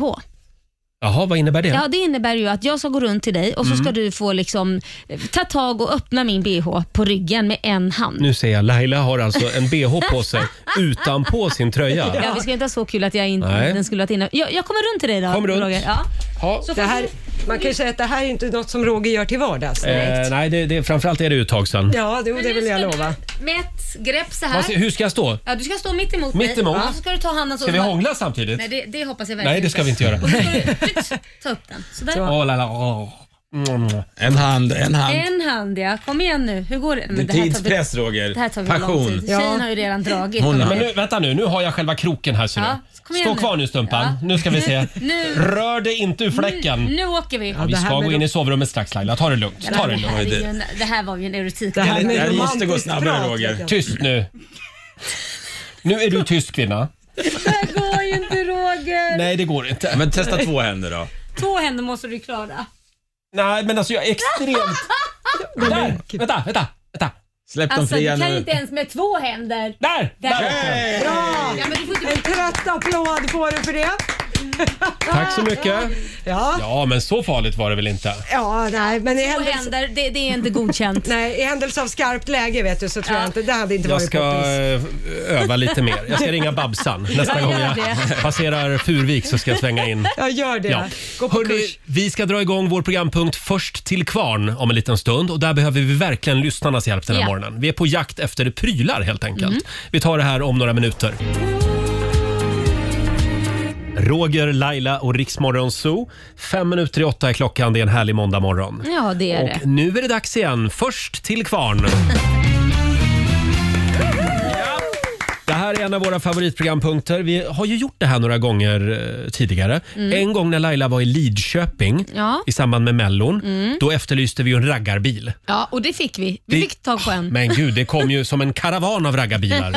A: Jaha, vad innebär det?
D: Ja, det innebär ju att jag ska gå runt till dig och så
A: Mm.
D: ska du få liksom, eh, ta tag och öppna min bh på ryggen med en hand.
A: Nu ser jag, Laila har alltså en bh på sig utanpå sin tröja.
D: Ja, vi ska inte ha så kul att jag inte
A: Nej.
D: den skulle varit inne. Jag, jag kommer runt till dig då.
A: Kom runt.
D: Roger. Ja.
A: Ja.
D: Så
B: Det
D: får
B: här,
D: du-
B: man kan ju säga att det här är inte något som Roger gör till vardags.
A: Eh, nej, det, det, framförallt är det ju ett tag sedan.
B: Ja, det, det
D: nu
B: vill jag
D: ska
B: lova.
D: du Med ett grepp så
A: Vad
D: här.
A: se- Hur ska jag stå?
D: Ja, du ska stå mitt emot
A: Mitt
D: mig
A: emot?
D: och så ska du ta handen så.
A: Ska vi hångla samtidigt?
D: Nej, det, det hoppas jag verkligen
A: Nej, det ska vi inte göra.
D: Och så ska du ta upp den. Sådär.
A: Åh, Laila, åh. Mm.
F: En hand, en hand.
D: En hand ja. Kom igen nu. Hur går det? Men
F: Det
D: det här
F: är
D: tar-
F: tidspress Roger.
D: Det här tar väl lång
F: Passion.
D: tid. Tjejen har ju redan dragit.
F: Hon har-
A: Men nu, vänta nu, nu har jag själva kroken här ser
D: Ja,
A: du.
D: kom igen
A: Stå
D: nu.
A: kvar nu Stumpan,
D: Ja.
A: nu ska vi se.
D: Nu.
A: Rör dig inte ur fläcken.
D: Nu åker vi.
A: Vi
B: det här
A: ska gå
B: med
A: in
B: de-
A: i sovrummet strax Laila, ta det lugnt. Ta det
D: det, här
A: lugnt.
D: är ju en, det här var ju en erotik.
B: Det här
F: Det
B: med
F: här måste
B: romantiskt
F: gå snabbare,
B: prat,
F: Roger.
B: vet jag.
A: Tyst nu. Nu är du tyst kvinna.
D: Det här går ju inte Roger.
A: Nej det går inte.
F: Men testa två händer då.
D: Två händer måste du klara.
A: Nej men alltså jag är extremt... Där! Vänta, vänta, vänta.
F: Släpp dem
D: Alltså
F: fria
D: du kan ju
F: nu.
D: inte ens med två händer.
A: Där!
D: Där.
A: Där.
D: Ja, men du får inte...
B: En trött applåd får du för det.
A: Tack så mycket.
B: Ja,
A: Ja men så farligt var det väl inte?
B: ja nej, men i
D: Två
B: händelse,
D: händer, det, det är inte godkänt.
B: nej, i händelse av skarpt läge vet du så tror
D: Ja.
B: jag inte, det hade inte
A: Jag
B: varit
A: ska
B: poppis.
A: eh, öva lite mer. Jag ska ringa Babsan nästa
D: Ja,
A: gång
D: gör
A: jag
D: det.
A: passerar Furvik så ska jag svänga in.
B: Jag gör det.
A: Ja.
B: Gå på
A: Hörrni,
B: kurs.
A: vi ska dra igång vår programpunkt Först till kvarn om en liten stund och där behöver vi verkligen lyssnarnas hjälp den här
D: Ja.
A: morgonen. Vi är på jakt efter prylar helt enkelt. Vi tar det här om några minuter. Roger, Laila och Riksmorgon Zoo. Fem minuter i åtta är klockan. Det är en härlig måndag morgon.
D: Ja, det är det.
A: Och nu är det dags igen. Först till kvarn. Ja. Det här här är en av våra favoritprogrampunkter. Vi har ju gjort det här några gånger eh, tidigare. En gång när Laila var i Lidköping
D: Mm. Ja. Mm.
A: i samband med Mellon, då efterlyste vi ju en raggarbil.
D: Ja, och det fick vi. Vi
A: Det-
D: fick tag på en.
A: Men gud, det kom ju som en karavan av raggarbilar.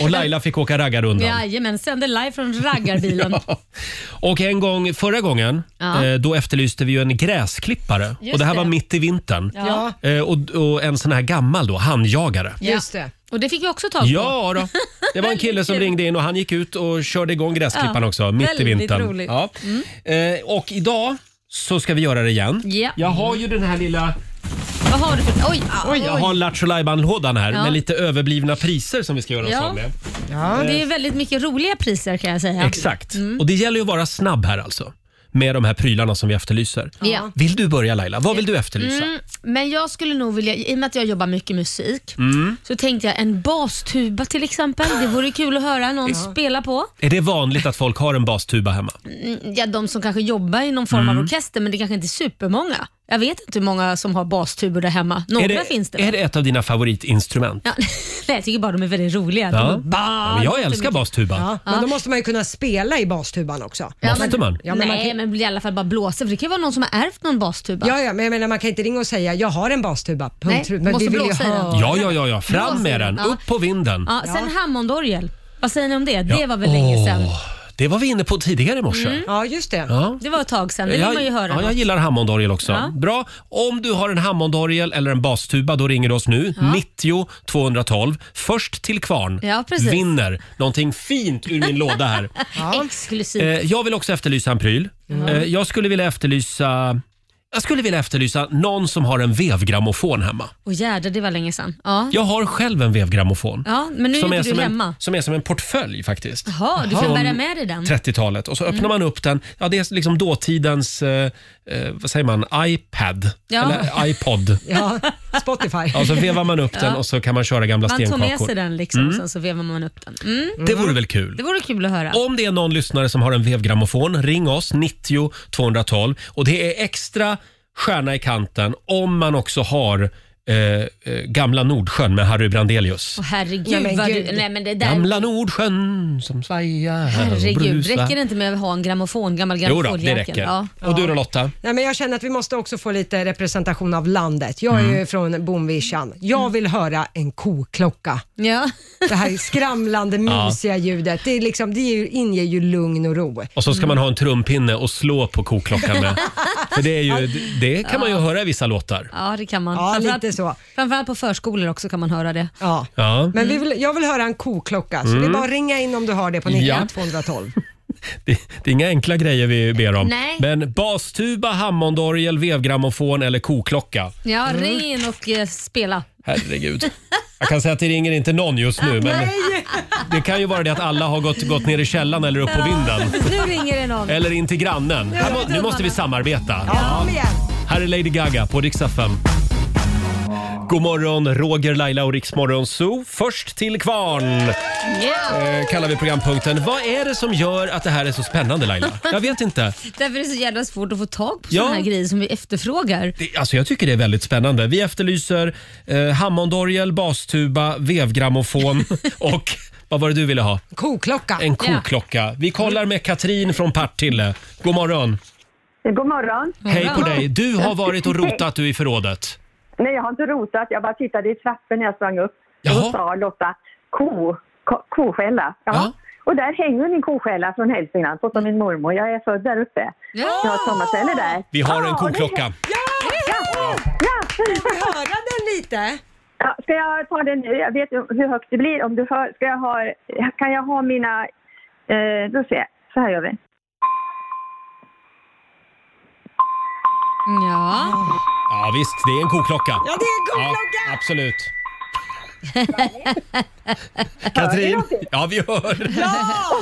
A: Och Laila fick åka raggarrundan.
D: Jajamän, sände live från raggarbilen.
A: Och en gång, förra gången,
D: Ja.
A: eh, då efterlyste vi ju en gräsklippare.
D: Just
A: och det här var
D: det.
A: mitt i vintern.
D: Ja.
A: Eh, och, och en sån här gammal då, handjagare.
D: Ja.
B: Just det.
D: Och det fick vi också tag på.
A: Ja då. Det var en kille som ringde in och han gick ut och körde igång gräsklipparen
D: Ja,
A: också mitt i
D: väldigt
A: vintern.
D: roligt. Mm.
A: Ja. Eh, och idag så ska vi göra det igen.
D: Ja.
A: Jag har ju den här lilla
D: Vad har du för... Oj!
A: Oj, jag har Lattjo Lajban-lådan här
D: Ja.
A: med lite överblivna priser som vi ska göra oss
D: Ja.
A: av med.
D: Ja, det är väldigt mycket roliga priser kan jag säga.
A: Exakt.
D: Mm.
A: Och det gäller ju att vara snabb här alltså med de här prylarna som vi efterlyser.
D: Ja.
A: Vill du börja Laila? Vad vill du efterlysa?
D: Mm, men jag skulle nog vilja, i och med att jag jobbar mycket musik,
A: Mm.
D: så tänkte jag en bastuba till exempel. Det vore kul att höra någon spela på.
A: Är det vanligt att folk har en bastuba hemma?
D: Mm, Ja, de som kanske jobbar i någon form
A: Mm.
D: av orkester, men det kanske inte är supermånga. Jag vet inte hur många som har bastubor där hemma. Några
A: är det,
D: finns det.
A: Är det ett av dina favoritinstrument?
D: Ja, nej, jag tycker bara de är väldigt roliga. De
A: Ja.
D: är bara-
A: Ja, men jag älskar bastuban.
B: Ja. Men då måste man ju kunna spela i bastuban också.
D: Ja,
A: Måste man?
B: Ja, men man
D: nej,
B: kan-
D: men i alla fall bara blåsa, för det kan ju vara någon som har ärvt någon bastuba.
B: Ja, ja, men jag menar, man kan inte ringa och säga jag har en bastuba. Punkt,
D: Nej,
B: slut. men
D: måste
B: vi vill ju
D: blåsa i den.
B: höra.
A: Ja, ja, ja, ja. Fram
D: Blåser
A: med
D: den.
A: den.
D: Ja.
A: Upp på vinden.
D: Ja, sen Hammondorgel. Vad säger ni om det?
A: Ja.
D: Det var väl länge sedan?
A: Åh, det var vi inne på tidigare i morse.
B: Ja, just det.
A: Ja.
D: Det var ett tag sedan. Det vill man ju höra.
A: ja, jag gillar hammondorgel också.
D: Ja.
A: Bra. Om du har en hammondorgel eller en bastuba, då ringer du oss nu. 90 212. Först till kvarn
D: Ja, precis.
A: vinner någonting fint ur min låda här.
D: Exklusivt.
A: Eh, jag vill också efterlysa en pryl. Eh, jag skulle vilja efterlysa jag skulle vilja efterlysa någon som har en vevgrammofon hemma.
D: Åh jädrar, det var länge sedan. Ja,
A: Jag har själv en vevgrammofon.
D: ja men nu är inte du
A: som en,
D: hemma. Mm.
A: som är som en portfölj faktiskt.
D: Jaha, du kan
A: Som-
D: bära med dig den.
A: 30-talet och så öppnar man upp den. Ja, det är liksom dåtidens, eh, eh, vad säger man, iPad
D: Ja.
A: eller eh, iPod.
B: Ja, Spotify.
A: Ja, så vevar man upp den och så kan man köra gamla
D: Man tog med sig
A: stenkakor. Mm.
D: den liksom, sen så vevar man upp den. Mm.
A: Det vore väl kul?
D: Det vore kul att höra.
A: Om det är någon lyssnare som har en vevgrammofon, ring oss 90 212. Och det är extra stjärna i kanten om man också har eh, eh, gamla Nordsjön med Harry Brandelius.
D: Åh, herregud,
B: Nej, men
D: vad
B: gud.
D: du... Nej, men det där...
A: Gamla Nordsjön som svajar och
D: Herregud,
A: brusar.
D: räcker det inte med att ha en grammofon? Gammal
A: Jo då,
D: grammofonjäkel?
A: det räcker.
D: Ja.
A: Och du då Lotta?
B: Nej, men jag känner att vi måste också få lite representation av landet. Jag är
A: Mm.
B: ju från Bomvischan. Jag vill höra en koklocka.
D: Ja.
B: Det här skramlande, mysiga ljudet. Det, är liksom, det är ju, inger ju lugn och ro.
A: Och
D: Mm.
A: så ska man ha en trumpinne och slå på koklockan med. För det, är ju, det kan man ju höra i vissa låtar.
D: ja, det kan man.
B: Ja,
D: Framförallt-
B: lite så.
D: Framförallt på förskolor också kan man höra det.
B: Ja.
A: Ja, Mm.
B: Men vi vill, jag vill höra en koklocka, så det är bara att ringa in om du har det på 9212.
A: det, det är inga enkla grejer vi ber om.
D: Nej.
A: Men bastuba, hammondorgel, vevgrammofon eller koklocka.
D: Ja,
B: Mm.
D: ring in och eh, spela.
A: Herregud. Jag kan säga att det ringer inte någon just nu, men det kan ju vara det att alla har gått, gått ner i källan eller upp på vinden. Eh.
D: Nu ringer det någon.
A: Eller in till grannen. Här må, nu måste vi samarbeta.
B: Kom igen!
A: Här är Lady Gaga på Rix FM. God morgon, Roger, Laila och Riksmorgon Zoo. Först till kvarn
D: Ja.
A: eh, kallar vi programpunkten. Vad är det som gör att det här är så spännande Laila? Jag vet inte.
D: Därför är det så jävla svårt att få tag på
A: Ja.
D: såna här grejer som vi efterfrågar.
A: Det, alltså jag tycker det är väldigt spännande. Vi efterlyser eh, hammondorgel, bastuba, vevgrammofon och vad var det du ville ha?
B: Koklocka.
A: En koklocka. Vi kollar med Katrin från Partille. God morgon.
H: God morgon.
A: Hej på dig. Du har varit och rotat du i förrådet.
H: Nej, jag har inte rotat. Jag bara tittade i trappen när jag sprang upp. Och
A: Jaha.
H: då sa Lotta ko, ko, koskälla. Ja.
A: Ja.
H: Och där hänger min koskälla från Hälsingland, så som min mormor. Jag är född där uppe.
D: Ja.
H: Jag har ett sommarställe där.
A: Vi har
H: Ja,
A: en
H: och det-
A: koklocka.
H: Ja! ja.
B: Höra den lite.
H: Ja, ska jag ta den nu? Jag vet ju hur högt det blir. Om du hör, ska jag ha, kan jag ha mina... Eh, då ser jag. Så här gör vi.
D: Ja.
A: Ja visst, det är en koklocka.
B: Ja, det är en koklocka!
A: Ja, absolut. Katrin, ja vi hör.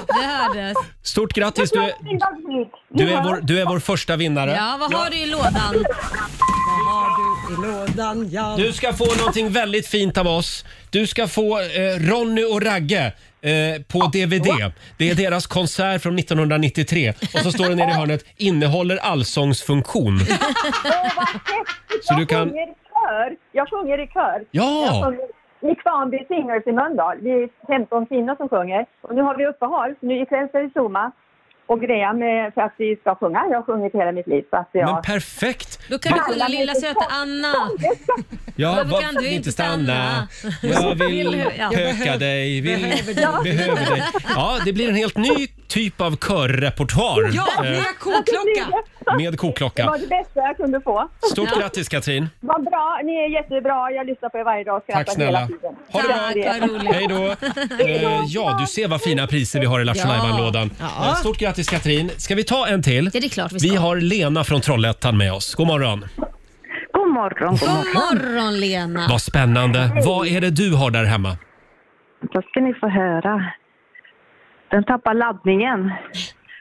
D: Det hördes.
A: Stort grattis, du är, du är, vår, du är vår första vinnare.
D: Ja, vad har du i lådan?
B: I lådan, ja.
A: Du ska få någonting väldigt fint av oss. Du ska få eh, Ronny och Ragge eh, på DVD. Det är deras konsert från 1993. Och så står det nere i hörnet, innehåller allsångsfunktion.
H: Åh, vad häftigt!
A: Så
H: Jag
A: du kan-
H: sjunger i kör. Jag sjunger i kör.
A: Ja!
H: Jag sjunger
J: Nick Farnby Singers i Mölndal. Vi är 15 kvinnor som sjunger. Och nu har vi uppehåll. Nu ikväll ska vi zooma. Och Graham, eh, för att vi ska sjunga. Jag har sjungit hela mitt liv. Så att jag...
A: Men perfekt!
D: Då kan du sjunga Lilla söta Anna.
A: Ja,
D: Varför
A: varför
D: kan du
A: inte
D: inte
A: stanna?
D: stanna?
A: Jag vill
D: Vill- ja.
A: höka dig, vill
B: behöver
A: behöver dig. Ja, det blir en helt ny typ av körrepertoar
B: Ja,
A: eh,
B: lilla koklocka!
A: med
J: Det var
A: koklocka.
J: det bästa jag kunde få.
A: Stort grattis Katrin!
J: Vad bra. Ni är jättebra. Jag lyssnar på er varje dag och
A: Tack
J: skrattar
A: snälla!
J: hela tiden.
A: Ha det
D: Tack,
A: bra!
D: vad roligt.
A: Hej då! Eh, Ja, du ser vad fina priser vi har i Lattjo
D: Ja.
A: Lajban-lådan. Eh, Stort grattis Katrin! Ska vi ta en till?
D: Ja, det är klart vi ska.
A: Vi har Lena från Trollhättan med oss. God morgon!
H: God morgon.
D: God morgon Lena.
A: Vad spännande! Vad är det du har där hemma?
H: Då ska ni få höra. Den tappar laddningen.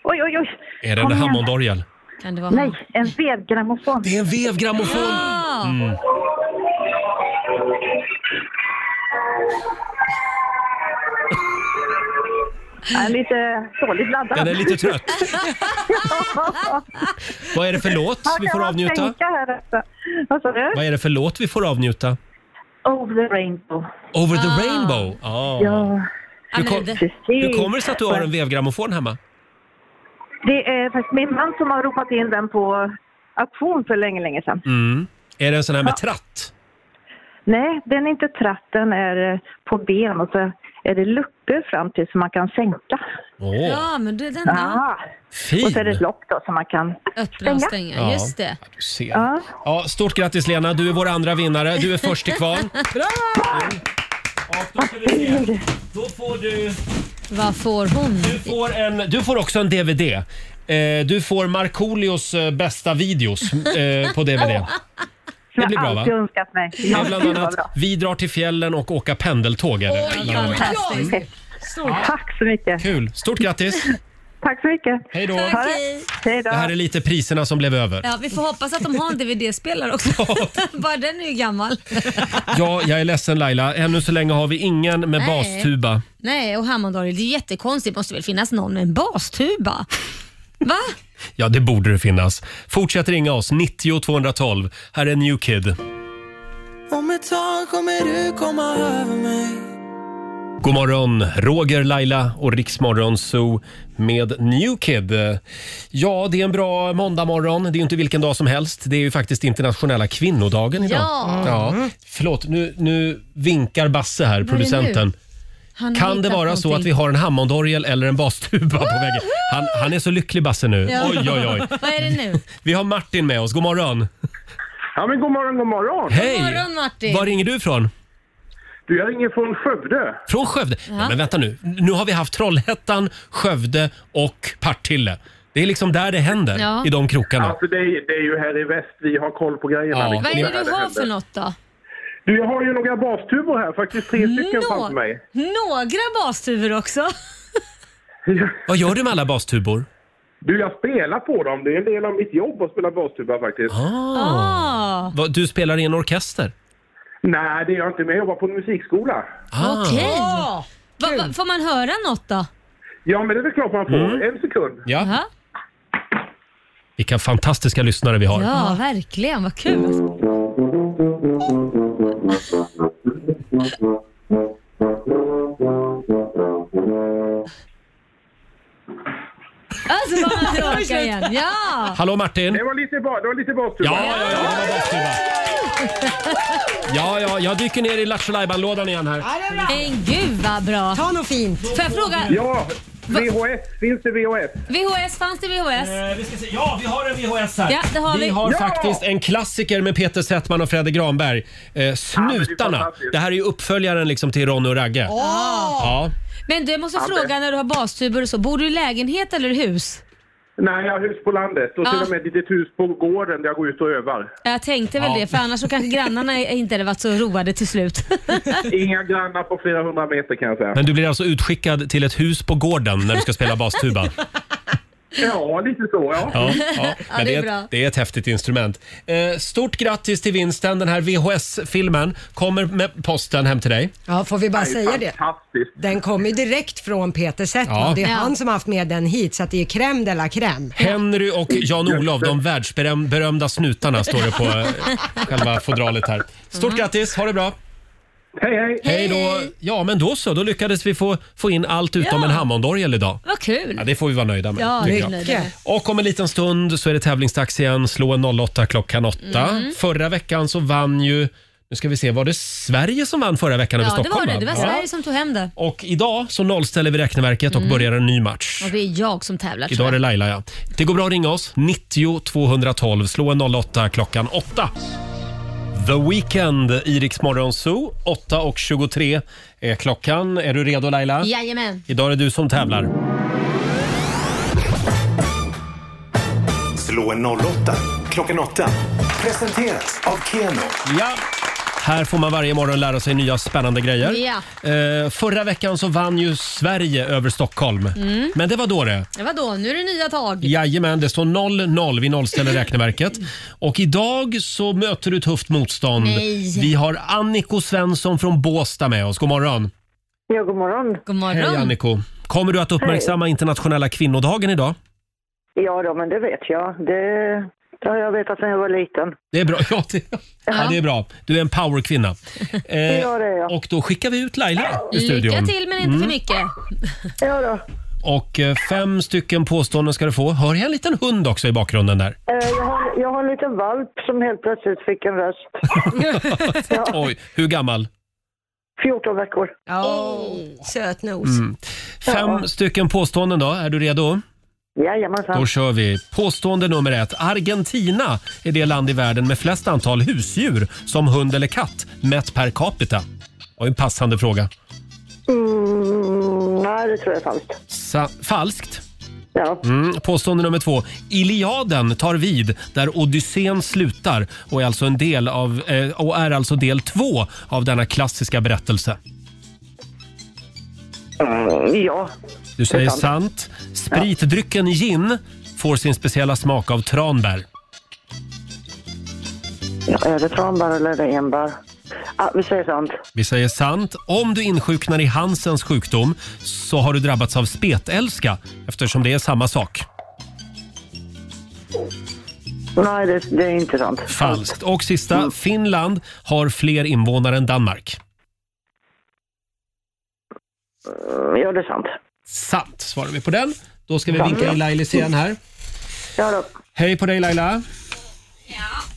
H: Oj, oj, oj.
A: Är det
H: Kom
A: en
H: igen.
A: Hammondorgel?
D: Kan det vara
H: Nej, en vevgrammofon.
A: Det är en vevgrammofon!
D: Ja.
H: Den är lite dåligt laddad.
A: Den är lite trött. Vad är det för låt vi får avnjuta?
H: Vad sa du?
A: Vad är det för låt vi får avnjuta?
H: Over the rainbow.
A: Over the rainbow. Ah.
H: Ja,
D: Ja, men
A: kom-
D: det-
H: precis.
A: Hur kommer det sig att du har en vevgrammofon hemma?
H: Det är faktiskt min man som har ropat in den på auktion för länge, länge sedan.
A: Mm. Är det en sån här med tratt?
H: Nej, den är inte tratt, den är eh, på ben och så är det luckor fram till som man kan sänka.
A: Åh,
D: Ja, men det är den där.
H: Ja. Och
A: fin!
H: så är det ett lock då som man kan...
D: Öppna och stänga,
A: Ja.
D: just det.
A: Ja, du ser.
H: Ja.
A: Ja, stort grattis Lena, du är vår andra vinnare. Du är först till kvarn. Bra! Då får du,
D: Vad får hon?
A: du, får en, du får också en DVD. Eh, du får Markoolios eh, bästa videos eh, på DVD.
H: Som
A: Det blir
H: jag
A: bra, va?
H: alltid önskat mig.
A: Det
H: Ja,
A: är bland
H: gud, vad
A: annat
H: bra.
A: Vi drar till fjällen och åka pendeltåg. Är det.
D: Vad Fantastiskt.
H: Tack så mycket.
A: Kul! Stort grattis!
H: Tack så mycket.
A: Hej då!
D: Tack.
H: Hej då.
A: Det här är lite priserna som blev över.
D: Ja, vi får hoppas att de har en DVD-spelare också. Bara den är ju gammal.
A: Ja, jag är ledsen Laila. Ännu så länge har vi ingen med
D: Nej.
A: bastuba.
D: Nej, och Hammondorgel, det är jättekonstigt. Det måste väl finnas någon med en bastuba? Va?
A: Ja, det borde det finnas. Fortsätt ringa oss, 90 212. Här är New Kid.
E: Om ett tag kommer du komma över mig
A: God morgon, Roger, Laila och Riksmorgon Zoo med New Kid. Ja, det är en bra måndagmorgon. Det är ju inte vilken dag som helst. Det är ju faktiskt internationella kvinnodagen idag.
D: Ja.
A: ja. Förlåt, nu, nu vinkar Basse här, producenten.
D: Han har
A: Kan det
D: hittat
A: vara så
D: någonting.
A: att vi har en hammondorgel eller en bastuba på vägen? Han, han är så lycklig Basse nu.
D: Ja.
A: Oj, oj, oj.
D: Vad är det nu?
A: Vi har Martin med oss. God morgon.
C: Ja, men god morgon, god morgon.
A: Hej!
D: morgon, Martin.
A: Var ringer du ifrån?
C: Du, jag ringer från Skövde.
A: Från Skövde? Nej, men vänta nu. Nu har vi haft Trollhättan, Skövde och Partille. Det är liksom där det händer,
D: Ja.
A: i de krokarna.
C: Alltså, det är, det är ju här i väst vi har koll på grejerna.
A: Ja.
C: liksom.
D: Vad är
C: här
D: det du har
C: händer.
D: för något då?
C: Du, jag har ju några bastuber här, faktiskt tre stycken
D: Nå-
C: framför mig.
D: Några bastuvor också.
A: Vad gör du med alla bastubor?
C: Du, jag spelar på dem. Det är en del av mitt jobb att spela bastuba faktiskt.
D: Ah,
A: Vad- Du spelar i en orkester?
C: Nej, det är jag inte, men jag jobbar på en musikskola.
A: Ah.
D: Okej. Va, va, får man höra något då?
C: Ja, men det är väl klart man får.
A: Mm.
C: En sekund.
A: Ja.
D: Ja,
A: Vilka fantastiska lyssnare vi har. Mm.
D: ja verkligen. Vad kul. Alltså, bara man tillbaka igen. Ja!
A: Hallå Martin!
C: Det var lite, ba- det var lite bastuba.
A: Ja, ja, ja, det var bastuba. Ja, ja, jag dyker ner i Lattjo Lajban-lådan igen här.
D: Men gud vad bra.
B: Ta något fint.
D: Får jag fråga,
C: Ja, VHS. Finns det VHS?
D: VHS, fanns det VHS?
A: vi ska se. Ja, vi har en VHS här.
D: Ja, det har vi.
A: har
C: Ja!
A: faktiskt en klassiker med Peter Settman och Fredrik Granberg. Eh,
C: Ja, men det är
A: Snutarna.
C: fantastiskt.
A: det här är ju uppföljaren liksom till Ronny och Ragge. Ja.
D: Men du, jag måste fråga när du har bastuber och så. Bor du i lägenhet eller hus?
C: Nej, jag har hus på landet och till
D: Ja.
C: och med ett litet hus på gården där jag går ut och övar.
D: Jag tänkte väl
A: Ja.
D: det, för annars så kanske grannarna inte hade varit så roade till slut.
C: Inga grannar på flera hundra meter kan jag säga.
A: Men du blir alltså utskickad till ett hus på gården när du ska spela bastuba.
C: Ja, lite så ja.
A: Ja, ja. Men
D: det är
A: ett,
D: bra.
A: det är ett häftigt instrument. Eh, stort grattis till vinsten. Den här VHS-filmen kommer med posten hem till dig.
B: Ja, får vi bara
C: är
B: säga det?
C: Fantastiskt.
B: Den kommer ju direkt från Peter Settman.
A: Ja.
B: Det är
D: Ja.
B: han som har haft med den hit, så att det är crème de la crème.
A: Henry och Jan-Olov, de
D: Mm.
A: världsberömda snutarna, står det på eh, själva fodralet här. Stort grattis, ha det bra!
H: Hej, hej!
A: Hej då! Ja, men då så. Då lyckades vi få, få in allt utom
D: Ja.
A: en hammondorgel idag.
D: Vad kul.
A: Ja, det får vi vara nöjda med.
D: Ja,
A: tycker
D: vi är
A: jag.
D: nöjda med.
A: Och om en liten stund så är det tävlingsdags igen. Slå en 08 klockan 8.
D: Mm.
A: Förra veckan så vann ju, nu ska vi se, var det Sverige som vann förra veckan över
D: Ja, det
A: Stockholm?
D: var det. Det var
A: va?
D: Sverige som tog hem det.
A: Och idag så nollställer vi räkneverket
D: Mm.
A: och börjar en ny match.
D: Och det är jag som tävlar. tror
A: Idag är det
D: jag.
A: Laila ja. Det går bra att ringa oss. 90 212. Slå en 08 klockan 8. The Weeknd i Rix Morgon Zoo. 8.23 är klockan. Är du redo Laila?
D: Jajamän.
A: Idag är det du som tävlar.
C: Slå en 08 klockan 8. Presenteras av Keno.
A: Ja. Här får man varje morgon lära sig nya spännande grejer.
D: Ja.
A: Eh, förra veckan så vann ju Sverige över Stockholm. Men det var då det.
D: Ja, Vadå, nu är det nya tag.
A: Jajamän, det står 0-0. Vi nollställer räkneverket. Och idag så möter du tufft motstånd.
D: Nej.
A: Vi har Anniko Svensson från Båstad med oss. God morgon.
H: Ja, god morgon.
D: God morgon.
A: Hej Anniko. Kommer du att uppmärksamma internationella kvinnodagen idag?
H: Ja då, men det vet jag. Det, det har jag vetat sedan jag var liten.
A: Det är bra. Ja, det, ja. det är bra. Du är en powerkvinna. Eh,
H: det är jag.
A: och då skickar vi ut Laila i studion. Mm.
D: Lycka till men inte för mycket.
H: Ja då.
A: Och eh, fem stycken påståenden ska du få. Hör jag en liten hund också i bakgrunden där?
H: Eh, Jag har, jag har en liten valp som helt plötsligt fick en röst.
A: Oj, hur gammal?
H: 14 veckor.
B: Oh, söt nos.
A: Mm. Fem stycken påståenden då. Är du redo?
H: Jajamensan.
A: Då kör vi. Påstående nummer ett. Argentina är det land i världen med flest antal husdjur som hund eller katt mätt per capita. Och en passande fråga.
H: Mm, nej, det tror jag är falskt.
A: Sa- falskt.
H: Ja.
A: Mm. Påstående nummer två. Iliaden tar vid där Odysseen slutar och är alltså en del av eh, och är alltså del två av denna klassiska berättelse.
H: Mm, ja.
A: Du säger sant. Spritdrycken gin får sin speciella smak av tranbär.
H: Är det tranbär eller är det enbär? Ah, vi säger sant.
A: Vi säger sant. Om du insjuknar i Hansens sjukdom så har du drabbats av spetälska eftersom det är samma sak.
H: Nej, det, det är inte sant.
A: Falskt. Och sista. Finland har fler invånare än Danmark.
H: Mm, Ja, det är sant.
A: Sant svarar vi på den. Då ska vi vinka in Lailis igen här.
H: Ja då.
A: Hej på dig Laila.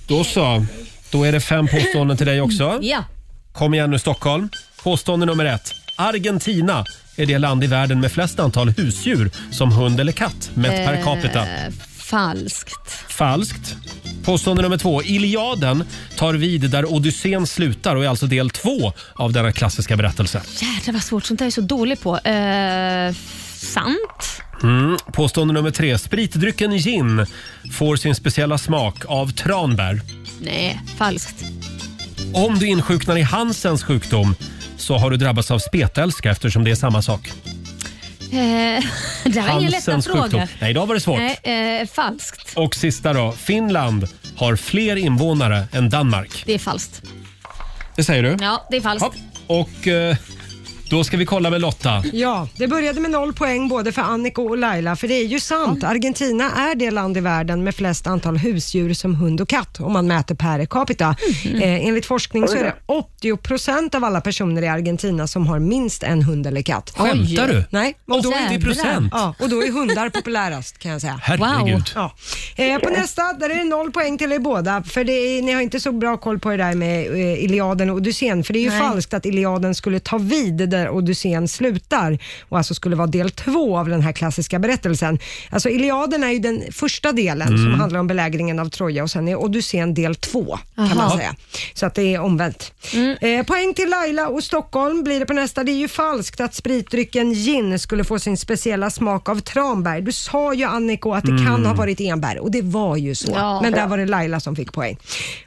A: Då så. Då är det fem påståenden till dig också.
D: Ja.
A: Kom igen nu Stockholm. Påstående nummer ett. Argentina är det land i världen med flest antal husdjur som hund eller katt mätt per capita.
D: Eh, falskt.
A: Falskt. Påstående nummer två. Iliaden tar vid där Odysseen slutar och är alltså del två av denna klassiska berättelse.
D: Jädrar vad svårt. Sånt där är jag så dålig på. Eh, sant.
A: Mm. Påstående nummer tre. Spritdrycken gin får sin speciella smak av tranbär.
D: Nej, falskt. Eh,
A: Om du insjuknar i Hansens sjukdom så har du drabbats av spetälska eftersom det är samma sak.
D: Eh, det här var ingen lätta
A: Hansens
D: fråga.
A: Nej, idag var det svårt.
D: Nej, eh, falskt.
A: Och sista då. Finland har fler invånare än Danmark.
D: Det är falskt.
A: Det säger du?
D: Ja, det är falskt.
A: Ja. Och eh, då ska vi kolla med Lotta.
B: Ja, det började med noll poäng både för Annika och Laila, för det är ju sant. Argentina är det land i världen med flest antal husdjur som hund och katt, om man mäter per capita. Eh, enligt forskning så är det 80 procent av alla personer i Argentina som har minst en hund eller katt.
A: Skämtar du?
B: Nej, och då,
A: 80 procent?
B: ja, och då är hundar populärast kan jag säga.
A: Herregud.
B: Ja. Eh, på nästa, där är det noll poäng till er båda, för det är, ni har inte så bra koll på det där med eh, Iliaden och Odysseen, för det är ju
D: Nej.
B: falskt att Iliaden skulle ta vid där Odysseen slutar och alltså skulle vara del två av den här klassiska berättelsen. Alltså Iliaden är ju den första delen som handlar om belägringen av Troja och sen är Odysseen del två, kan man
D: Aha.
B: säga. Så att det är omvänt. Eh, poäng till Laila och Stockholm blir det på nästa. Det är ju falskt att spritdrycken gin skulle få sin speciella smak av tranbär. Du sa ju Anniko att det kan ha varit enbär och det var ju så.
D: Ja.
B: Men där var det Laila som fick poäng.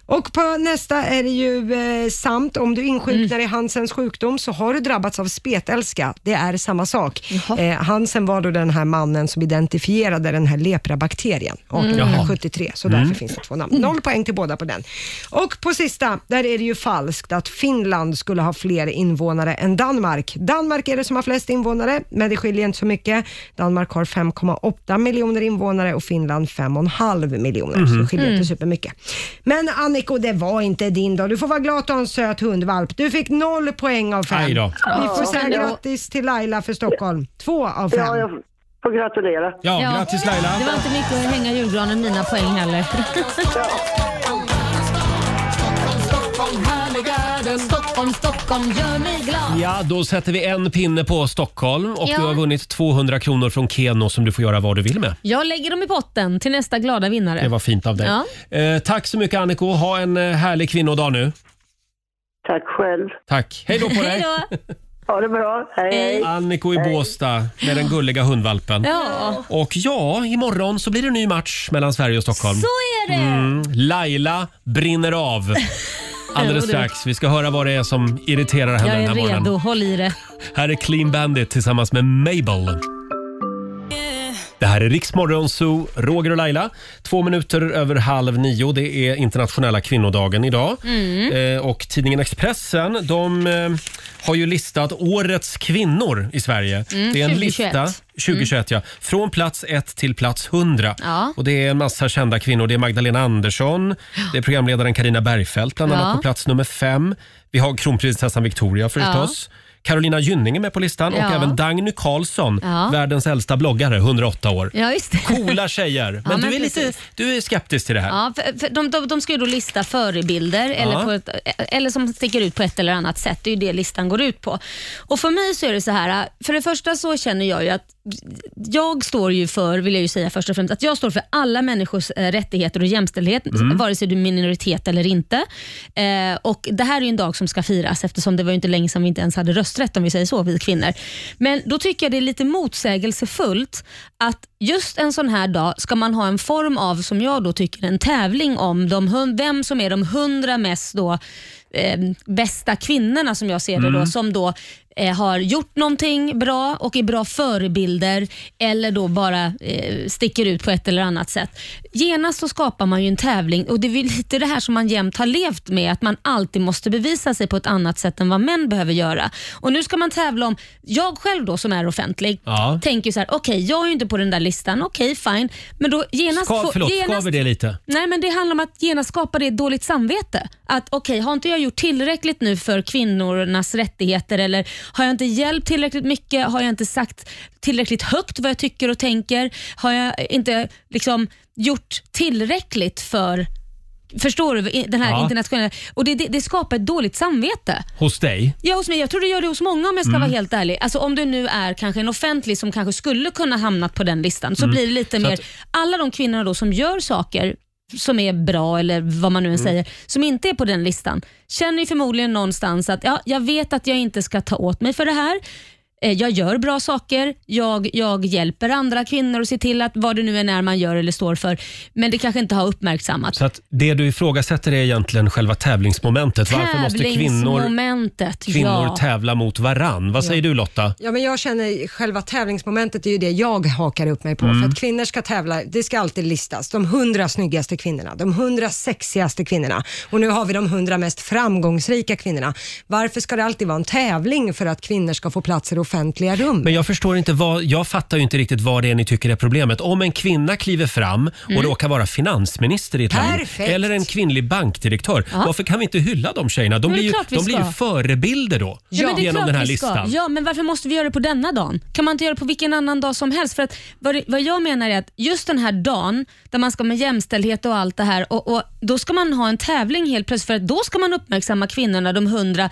B: Och på nästa är det ju eh, samt om du insjuknar i Hansens sjukdom så har du drabbats av av spetälska, det är samma sak. Eh, Hansen var då den här mannen som identifierade den här leprabakterien 1873, så därför
A: Mm.
B: finns det två namn. Noll poäng till båda på den. Och på sista, där är det ju falskt att Finland skulle ha fler invånare än Danmark. Danmark är det som har flest invånare, men det skiljer inte så mycket. Danmark har 5,8 miljoner invånare och Finland 5,5 miljoner, så
A: Mhm.
B: det skiljer
K: Mm.
B: inte supermycket. Men Anniko, det var inte din dag. Du får vara glad att du har en söt hundvalp. Du fick noll poäng av fem.
A: Aj då.
B: Vi får säga
D: men det var-
B: grattis till Laila för Stockholm. Två av fem.
K: Ja, jag får gratulera.
A: Ja, grattis Laila.
D: Det var inte mycket att hänga julgranen mina poäng heller. Stockholm, Stockholm gör mig glad.
A: Ja, då sätter vi en pinne på Stockholm och
D: Ja.
A: du har vunnit 200 kronor från Keno som du får göra vad du vill med.
D: Jag lägger dem i potten till nästa glada vinnare.
A: Det var fint av dig. Eh, tack så mycket Anniko. Ha en eh, härlig kvinnodag nu.
K: Tack själv.
A: Tack. Hej då på dig.
D: Hej då.
K: Ha det bra. Hej, hej.
A: Anniko i Båstad med den gulliga hundvalpen.
D: Ja,
A: Och ja, imorgon så blir det en ny match mellan Sverige och Stockholm.
D: så är det.
A: Mm, Laila brinner av. Alldeles
D: Jo, det-
A: strax. Vi ska höra vad det är som irriterar henne
D: Jag
A: den här
D: är redo,
A: morgonen.
D: håll i det.
A: Här är Clean Bandit tillsammans med Mabel. Det här är Riksmorgon Zoo, Roger och Laila. Två minuter över halv nio. Det är internationella kvinnodagen idag.
D: Mm.
A: Eh, och tidningen Expressen de, eh, har ju listat årets kvinnor i Sverige.
D: Mm,
A: det är en
D: 2021.
A: lista 2021, ja. Från plats 1 till plats 100.
D: Ja.
A: Och det är en massa kända kvinnor. Det är Magdalena Andersson, det är programledaren Karina Bergfeldt bland annat
D: Ja.
A: på plats nummer fem. Vi har kronprinsessan Victoria förstås. Carolina Gynning är med på listan och
D: Ja.
A: även Dagny Carlsson,
D: Ja.
A: världens äldsta bloggare, 108 år.
D: Ja, just det.
A: Coola tjejer. Men,
D: men
A: du, är lite,
D: precis.
A: du är skeptisk till det här.
D: Ja, för, för de, de, de ska ju då lista förebilder eller, på ett, eller som sticker ut på ett eller annat sätt. Det är ju det listan går ut på. Och För mig så är det så här, för det första så känner jag ju att jag står ju för, vill jag ju säga först och främst, att jag står för alla människors eh, rättigheter och jämställdhet, vare sig du är minoritet eller inte. Eh, och Det här är ju en dag som ska firas eftersom det var ju inte länge sedan vi inte ens hade rösträtt om vi säger så, vi kvinnor. Men då tycker jag det är lite motsägelsefullt att just en sån här dag ska man ha en form av, som jag då tycker, en tävling om de, hun- vem som är de hundra mest då, eh, bästa kvinnorna som jag ser det, då, som då eh, har gjort någonting bra och är bra förebilder eller då bara eh, sticker ut på ett eller annat sätt. Genast så skapar man ju en tävling och det är väl lite det här som man jämt har levt med, att man alltid måste bevisa sig på ett annat sätt än vad män behöver göra. Och Nu ska man tävla om, jag själv då som är offentlig,
A: Ja.
D: tänker ju så här, okej jag är ju inte på den där listan, okej fine. Men då genast...
A: Ska,
D: får-
A: förlåt,
D: genast
A: skaver det lite?
D: Nej, men det handlar om att genast skapa det dåligt samvete. Att okej, har inte jag gjort tillräckligt nu för kvinnornas rättigheter eller har jag inte hjälpt tillräckligt mycket? Har jag inte sagt tillräckligt högt vad jag tycker och tänker? Har jag inte liksom gjort tillräckligt för Förstår du? i- Den här
A: Ja.
D: internationella... Och det, det, det skapar ett dåligt samvete.
A: Hos dig?
D: Ja, hos mig. Jag tror det gör det hos många om jag ska
A: Mm.
D: vara helt ärlig. Alltså, om du nu är kanske en offentlig som kanske skulle kunna hamnat på den listan så blir det lite
A: Mm. Så
D: mer,
A: att-
D: alla de kvinnorna då som gör saker som är bra eller vad man nu
A: Mm.
D: än säger, som inte är på den listan, känner ju förmodligen någonstans att ja, jag vet att jag inte ska ta åt mig för det här. Eh, Jag gör bra saker, jag, jag hjälper andra kvinnor och ser till att vad det nu än är man gör eller står för, men det kanske inte har uppmärksammats.
A: Så att det du ifrågasätter är egentligen själva tävlingsmomentet. Varför måste kvinnor,
D: Tävlingsmomentet,
A: kvinnor
D: ja.
A: tävla mot varann? Vad säger du Lotta?
B: Ja, men jag känner själva tävlingsmomentet är ju det jag hakar upp mig på.
A: Mm.
B: För att kvinnor ska tävla, det ska alltid listas. De hundra snyggaste kvinnorna, de hundra sexigaste kvinnorna och nu har vi de hundra mest framgångsrika kvinnorna. Varför ska det alltid vara en tävling för att kvinnor ska få plats i det offentliga rum?
A: Men jag förstår inte vad, jag fattar ju inte riktigt vad det är ni tycker är problemet. Om en kvinna kliver fram och
D: Mm.
A: råkar vara finansminister i ett
B: Perfekt.
A: land eller en kvinnlig bankdirektör. Varför kan vi inte hylla de tjejerna? De
D: Men det
A: blir ju,
D: är klart vi
A: de blir ju
D: ska.
A: förebilder då
D: Ja, men det är
A: genom
D: klart
A: den här
D: vi ska.
A: listan.
D: Ja, men varför måste vi göra det på denna dagen? Kan man inte göra det på vilken annan dag som helst? För att vad, det- vad jag menar är att just den här dagen där man ska med jämställdhet och allt det här och, och då ska man ha en tävling helt plötsligt för
A: Mm.
D: att då ska man uppmärksamma kvinnorna, de hundra.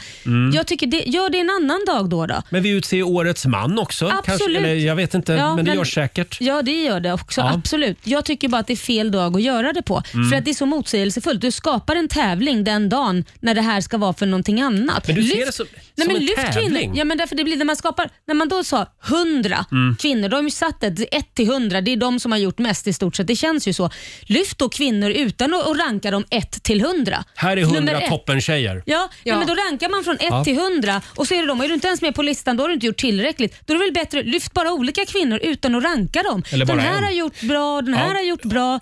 D: Jag tycker det, gör det en annan dag då. då.
A: Men vi utser ju det årets man också?
D: Absolut.
A: eller, jag vet inte,
D: Ja,
A: men det
D: men-
A: görs säkert.
D: Ja, det gör det också.
A: Ja.
D: Absolut. Jag tycker bara att det är fel dag att göra det på.
A: Mm.
D: För att det är så motsägelsefullt. Du skapar en tävling den dagen när det här ska vara för någonting annat.
E: Men du ser det som- som en tävling.
D: kvinnor. Ja, men därför det blir när man skapar... När man då sa 100
E: Mm.
D: kvinnor, de har ju satt ett 1 till 100. Det är de som har gjort mest i stort sett. Det känns ju så. Lyft då kvinnor utan att att ranka dem 1 till 100.
A: Här är
D: Nummer
A: 100
D: ett.
A: toppentjejer.
D: Ja, ja. men då rankar man från 1
A: Ja.
D: till 100 och så är det de. Är du inte ens med på listan då har du inte gjort tillräckligt. Då är det väl bättre, lyft bara olika kvinnor utan att ranka dem.
A: Eller bara
D: den här
A: en.
D: har gjort bra, den
A: Ja.
D: här har gjort bra.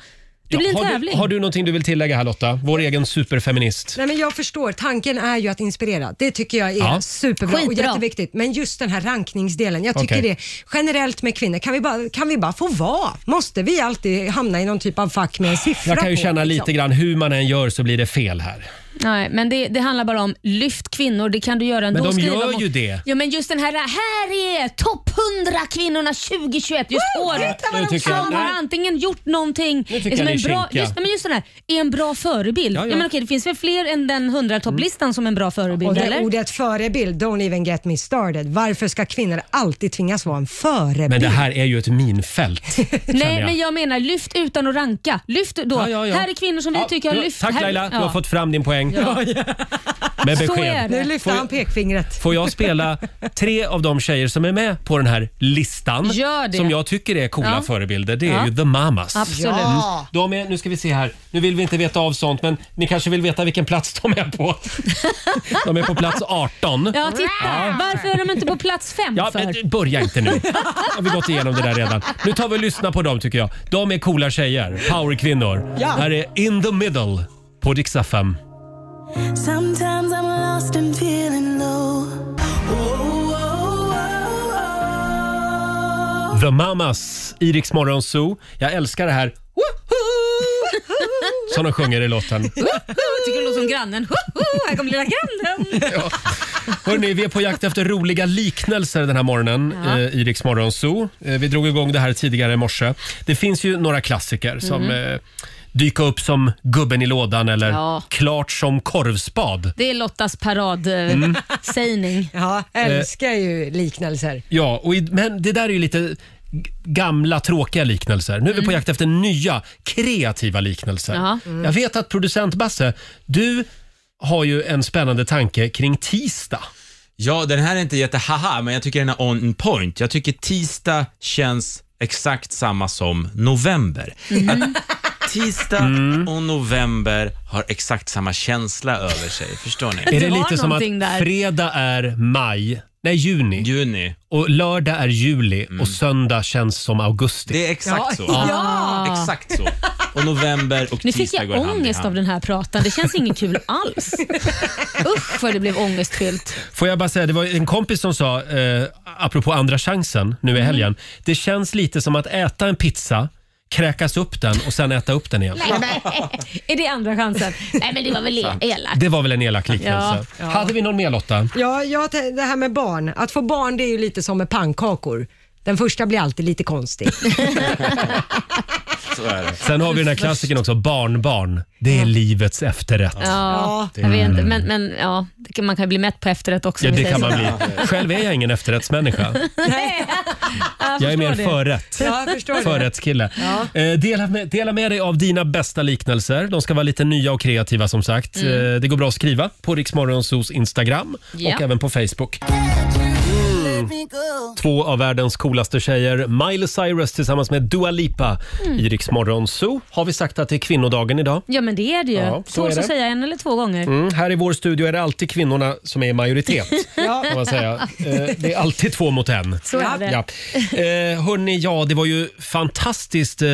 D: Det
A: Ja,
D: blir en
A: har,
D: tävling.
A: Du, har du någonting du vill tillägga här Lotta? Vår egen superfeminist.
B: Nej, men jag förstår, tanken är ju att inspirera. Det tycker jag är
A: Ja.
B: superbra och
A: Skitbra.
B: jätteviktigt. Men just den här rankningsdelen, jag tycker
A: Okej.
B: det generellt med kvinnor, kan vi, bara, kan vi bara få vara? Måste vi alltid hamna i någon typ av fack med en siffra
A: Jag kan ju
B: på,
A: känna
B: liksom?
A: lite grann, hur man än gör så blir det fel här.
D: Nej, men det, det handlar bara om lyft kvinnor, det kan du göra ändå.
A: Men de
D: Skriva
A: gör
D: mot-
A: ju det.
D: Ja, men just den här, här är topp 100 kvinnorna 2021, just
E: Woo!
D: året.
E: Titta vad Nu de tycker
D: Som
E: jag-
D: har
E: nej.
D: antingen gjort någonting,
E: tycker
D: som
E: jag
D: en
E: ni är
D: bra,
E: kinkiga.
D: just, nej, men just den här, är en bra förebild.
B: Ja,
D: Ja,
B: ja.
D: men okej, det finns väl fler än den 100-topplistan som en bra förebild?
B: Och det
D: eller?
B: ordet förebild, don't even get me started. Varför ska kvinnor alltid tvingas vara en förebild?
A: Men det här är ju ett minfält. känner
D: Mm. Nej, men jag menar lyft utan att ranka. Lyft då.
A: ja.
D: Här är kvinnor som vi
A: Ja,
D: tycker
A: du-
D: har lyft.
A: Tack
D: här,
A: Laila, du
D: ja.
A: har fått fram din poäng.
D: Ja.
A: Med
D: Så är
A: besked.
D: det.
B: Nu lyfter
A: Får-
B: han pekfingret.
A: Får jag spela tre av de tjejer som är med på den här listan?
B: Gör det.
A: Som jag tycker är coola
B: Ja.
A: förebilder. Det är
B: Ja.
A: ju The Mamas.
B: Absolut. Ja.
A: De är, nu ska vi se här. Nu vill vi inte veta av sånt, men ni kanske vill veta vilken plats de är på. De är på plats 18.
D: Ja, titta. Varför är de inte på plats fem
A: Ja,
D: för?
A: men börja inte nu. Har vi gått igenom det där redan. Nu tar vi och lyssnar på dem tycker jag. De är coola tjejer, powerkvinnor.
E: Ja.
A: Här är In the Middle på Dix FM.
E: Sometimes I'm lost and feeling low. Oh, oh, oh,
A: The Mamas, Iriks Morgonzoo. Jag älskar det här som de sjunger i låten.
D: Jag tycker det låter som grannen. Hoho, Här kommer lilla
A: Mm.
D: grannen.
A: Hörrni, vi är på jakt efter roliga liknelser den här morgonen
D: Ja.
A: eh, i Rix Morgon Zoo. Eh, vi drog igång det här tidigare i morse. Det finns ju några klassiker som
D: Mm.
A: eh, dyker upp som gubben i lådan eller
D: Ja.
A: klart som korvspad.
D: Det är Lottas eh,
A: Mm.
D: paradsägning.
B: Ja,
A: Eh.
B: älskar ju liknelser.
A: Ja, och i, men det där är ju lite g- gamla tråkiga liknelser. Nu är vi på jakt efter nya kreativa liknelser.
E: Ja. Mm.
A: Jag vet att producent Basse, du har ju en spännande tanke kring tisdag.
F: Ja, den här är inte jättehaha, men jag tycker den är on point. Jag tycker tisdag känns exakt samma som november.
D: Mhm.
F: Att tisdag och november har exakt samma känsla över sig. Förstår ni?
A: Är det lite som att
E: där.
A: fredag är maj, nej juni.
F: Juni.
A: Och lördag är juli och söndag känns som augusti.
F: Det är exakt
A: Ja,
F: så.
A: ja.
D: Ja.
F: Exakt så. Och november och
D: Nu fick
F: tisdag
D: jag
F: går hand i
D: ångest av
F: hand.
D: den här pratan. Det känns inget kul alls. Usch vad det blev ångestfyllt.
A: Får jag bara säga, det var en kompis som sa, eh, apropå andra chansen nu i helgen. Det känns lite som att äta en pizza, kräkas upp den och sen äta upp den igen.
D: Nej, men, är det andra chansen? Nej, men det var väl elakt.
A: Det var väl en elak liknelse.
B: Ja, ja.
A: Hade vi någon mer Lotta?
B: Ja, jag, t- det här med barn. Att få barn det är ju lite som med pannkakor. Den första blir alltid lite konstig.
A: Sen har vi den här klassiken också, barnbarn. Det är livets efterrätt.
D: Ja, jag vet inte. Men, men ja, det kan- man kan ju bli mätt på efterrätt också.
A: Mm. Ja,
D: om vi
A: det
D: säger
A: kan man
D: så.
A: bli. Själv är jag ingen efterrättsmänniska.
D: Nej.
A: Jag är mer
D: förstår det.
A: förrätt.
D: Ja, jag förstår det.
A: Förrättskille.
D: Ja.
A: Eh, dela, med, dela med dig av dina bästa liknelser. De ska vara lite nya och kreativa som sagt.
D: Mm.
A: Eh, det går bra att skriva på Riksmorgonsos Instagram
E: Ja.
A: och även på Facebook. Mm.
E: Let me go.
A: Två av världens coolaste tjejer, Miley Cyrus tillsammans med Dua Lipa
D: Mm.
A: i Riksmorgonso. Har vi sagt att det är kvinnodagen idag?
D: Ja, men det är det ju.
A: Ja, så är
D: Tåls
A: det.
D: att säga en eller två gånger.
A: Mm, här i vår studio är det alltid kvinnorna som är i majoritet.
D: Ja.
A: kan man säga. Eh, Det är alltid två mot en.
D: Så är det.
A: Ja. Eh, hörni, ja, det var ju fantastiskt eh,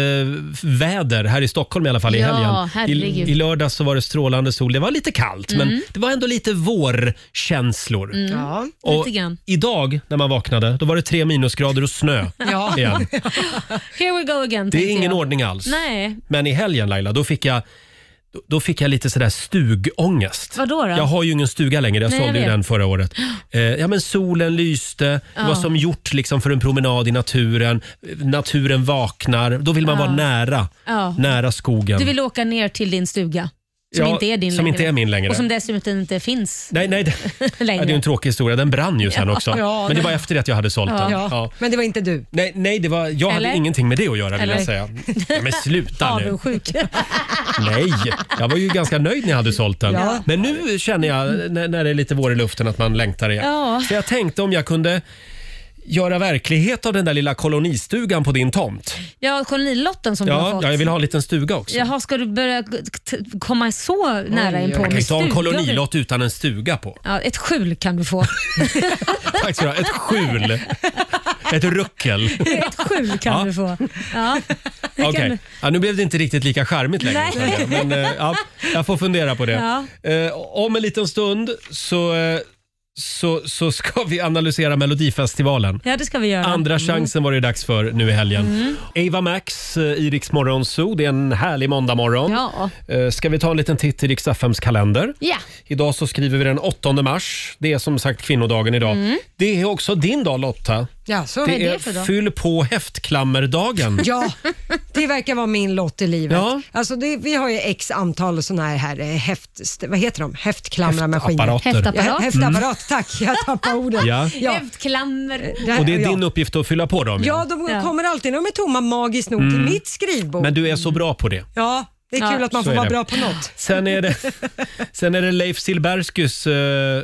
A: väder här i Stockholm i alla fall i
E: Ja,
A: helgen. I,
E: herregud.
A: I lördags så var det strålande sol. Det var lite kallt, men
E: Mm.
A: det var ändå lite vårkänslor.
E: Mm. Ja,
A: Och
E: lite grann.
A: Idag när man vaknade, då var det tre minusgrader och snö
D: Ja.
A: igen.
D: Here we go again.
A: Det
D: tänkte
A: är ingen
D: jag.
A: ordning alls.
D: Nej.
A: Men i helgen Laila, då fick jag då- då fick jag lite sådär stugångest.
D: Vadå då?
A: Jag har ju ingen stuga längre, jag
D: Nej, jag
A: sålde ju
D: vet.
A: den förra året. Eh, ja, men solen lyste, det var
D: Ja.
A: som gjort liksom för en promenad i naturen. Eh, Naturen vaknar, då vill man
D: Ja.
A: vara nära,
D: Ja.
A: nära skogen.
D: Du vill åka ner till din stuga. Som
A: Ja,
D: inte är din
A: som
D: längre.
A: inte är min längre.
D: Och som dessutom inte finns
A: Nej, nej. Det, ja,
D: längre.
A: det är ju en tråkig historia. Den brann ju sen
D: Ja.
A: också.
D: Ja,
A: Men det
D: den-
A: var efter det att jag hade sålt den.
B: Ja.
A: Ja.
B: Men det var inte du.
A: Nej, nej det var, jag
B: Eller?
A: hade ingenting med det att göra vill
B: Eller?
A: jag säga. Ja, men sluta nu.
D: Avundsjuk.
A: Nej, jag var ju ganska nöjd när jag hade sålt den.
D: Ja.
A: Men nu känner jag när, när det är lite vår i luften att man längtar igen.
D: Ja.
A: Så jag tänkte om jag kunde göra verklighet av den där lilla kolonistugan på din tomt.
D: Ja, kolonilotten som du har
A: Ja,
D: fått.
A: ja, jag vill ha en liten stuga också.
D: Jaha, ska du börja g- t- komma så nära in på
A: Jag kan ju
D: med
A: inte ha en
D: stugor?
A: kolonilott utan en stuga på.
D: Ja, ett skjul kan du få.
A: Tack ska du ha. Ett skjul. Ett ruckel.
D: Ett skjul kan
A: Ja.
D: du få. Ja. Det kan
A: Okej,
D: du-
A: ja, nu blev det inte riktigt lika charmigt längre.
D: Nej.
A: känner jag. Men, eh, ja, jag får fundera på det.
D: Ja.
A: Eh, om en liten stund så, eh, så, så ska vi analysera Melodifestivalen.
D: Ja, det ska vi göra.
A: Andra chansen var det ju dags för nu i helgen.
D: Mm.
A: Ava Max eh, i Rix Morgon Zoo. Det är en härlig måndagmorgon.
D: Ja.
A: Eh, Ska vi ta en liten titt i Rix FMs kalender?
D: Ja.
A: Idag så skriver vi den 8 mars. Det är som sagt kvinnodagen idag.
D: Mm.
A: Det är också din dag Lotta.
B: Ja, så
A: det är, fyll på häftklammerdagen.
B: Ja, det verkar vara min lott i livet.
A: Ja.
B: Alltså det, vi har ju x antal såna här, här eh, häft, vad heter de? Häftklamrarmaskiner.
A: Häftapparater. Häftapparat.
B: Ja, häftapparat, tack. Jag tappade ordet.
A: Mm. Ja.
D: Häftklammer.
A: Och det är din uppgift att fylla på dem.
B: Ja, de kommer alltid när de är tomma magiskt nog till
A: Mm.
B: mitt skrivbord.
A: Men du är så bra på det.
B: Ja, det är
A: Ja.
B: kul att man
A: Så
B: får
A: är
B: vara
A: det.
B: bra på något.
A: Sen är det, sen är det Leif Silberskus eh,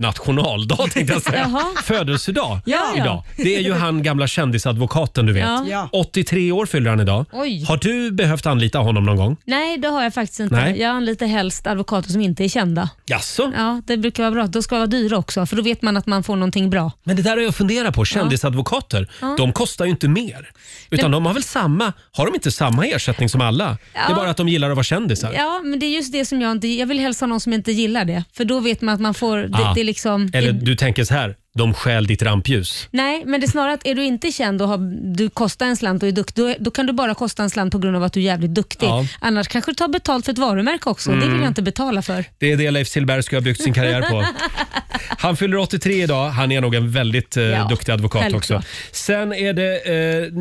A: nationaldag tänkte jag säga.
B: Jaha.
A: Födelsedag
B: Ja, ja.
A: idag. Det är ju han gamla kändisadvokaten du vet.
D: Ja. Ja.
A: 83 år fyller han idag.
D: Oj.
A: Har du behövt anlita honom någon gång?
D: Nej, det har jag faktiskt inte.
A: Nej.
D: Jag anlitar helst advokater som inte är kända.
A: Jaså?
D: Ja, det brukar vara bra. Då ska det vara dyra också, för då vet man att man får någonting bra.
A: Men det där har jag funderat på. Kändisadvokater,
D: Ja.
A: de kostar ju inte mer. Utan
D: Men-
A: de har väl samma, har de inte samma ersättning som alla? Det
D: Ja.
A: är bara att de gillar att vara kändisar.
D: Ja, men det är just det som jag inte... Jag vill hälsa någon som inte gillar det, för då vet man att man får... Det,
A: Ah.
D: det är liksom...
A: Eller du tänker så här, de stjäl ditt rampljus.
D: Nej, men det är snarare att är du inte känd och har, du kostar en slant och är duktig, då, då kan du bara kosta en slant på grund av att du är jävligt duktig.
A: Ja.
D: Annars kanske du tar betalt för ett varumärke också. Det vill
A: Mm.
D: jag inte betala för.
A: Det är det Leif Silberg ska ha byggt sin karriär på. Han fyller 83 idag. Han är nog en väldigt eh,
D: Ja,
A: duktig advokat
D: självklart.
A: också. Sen är det eh,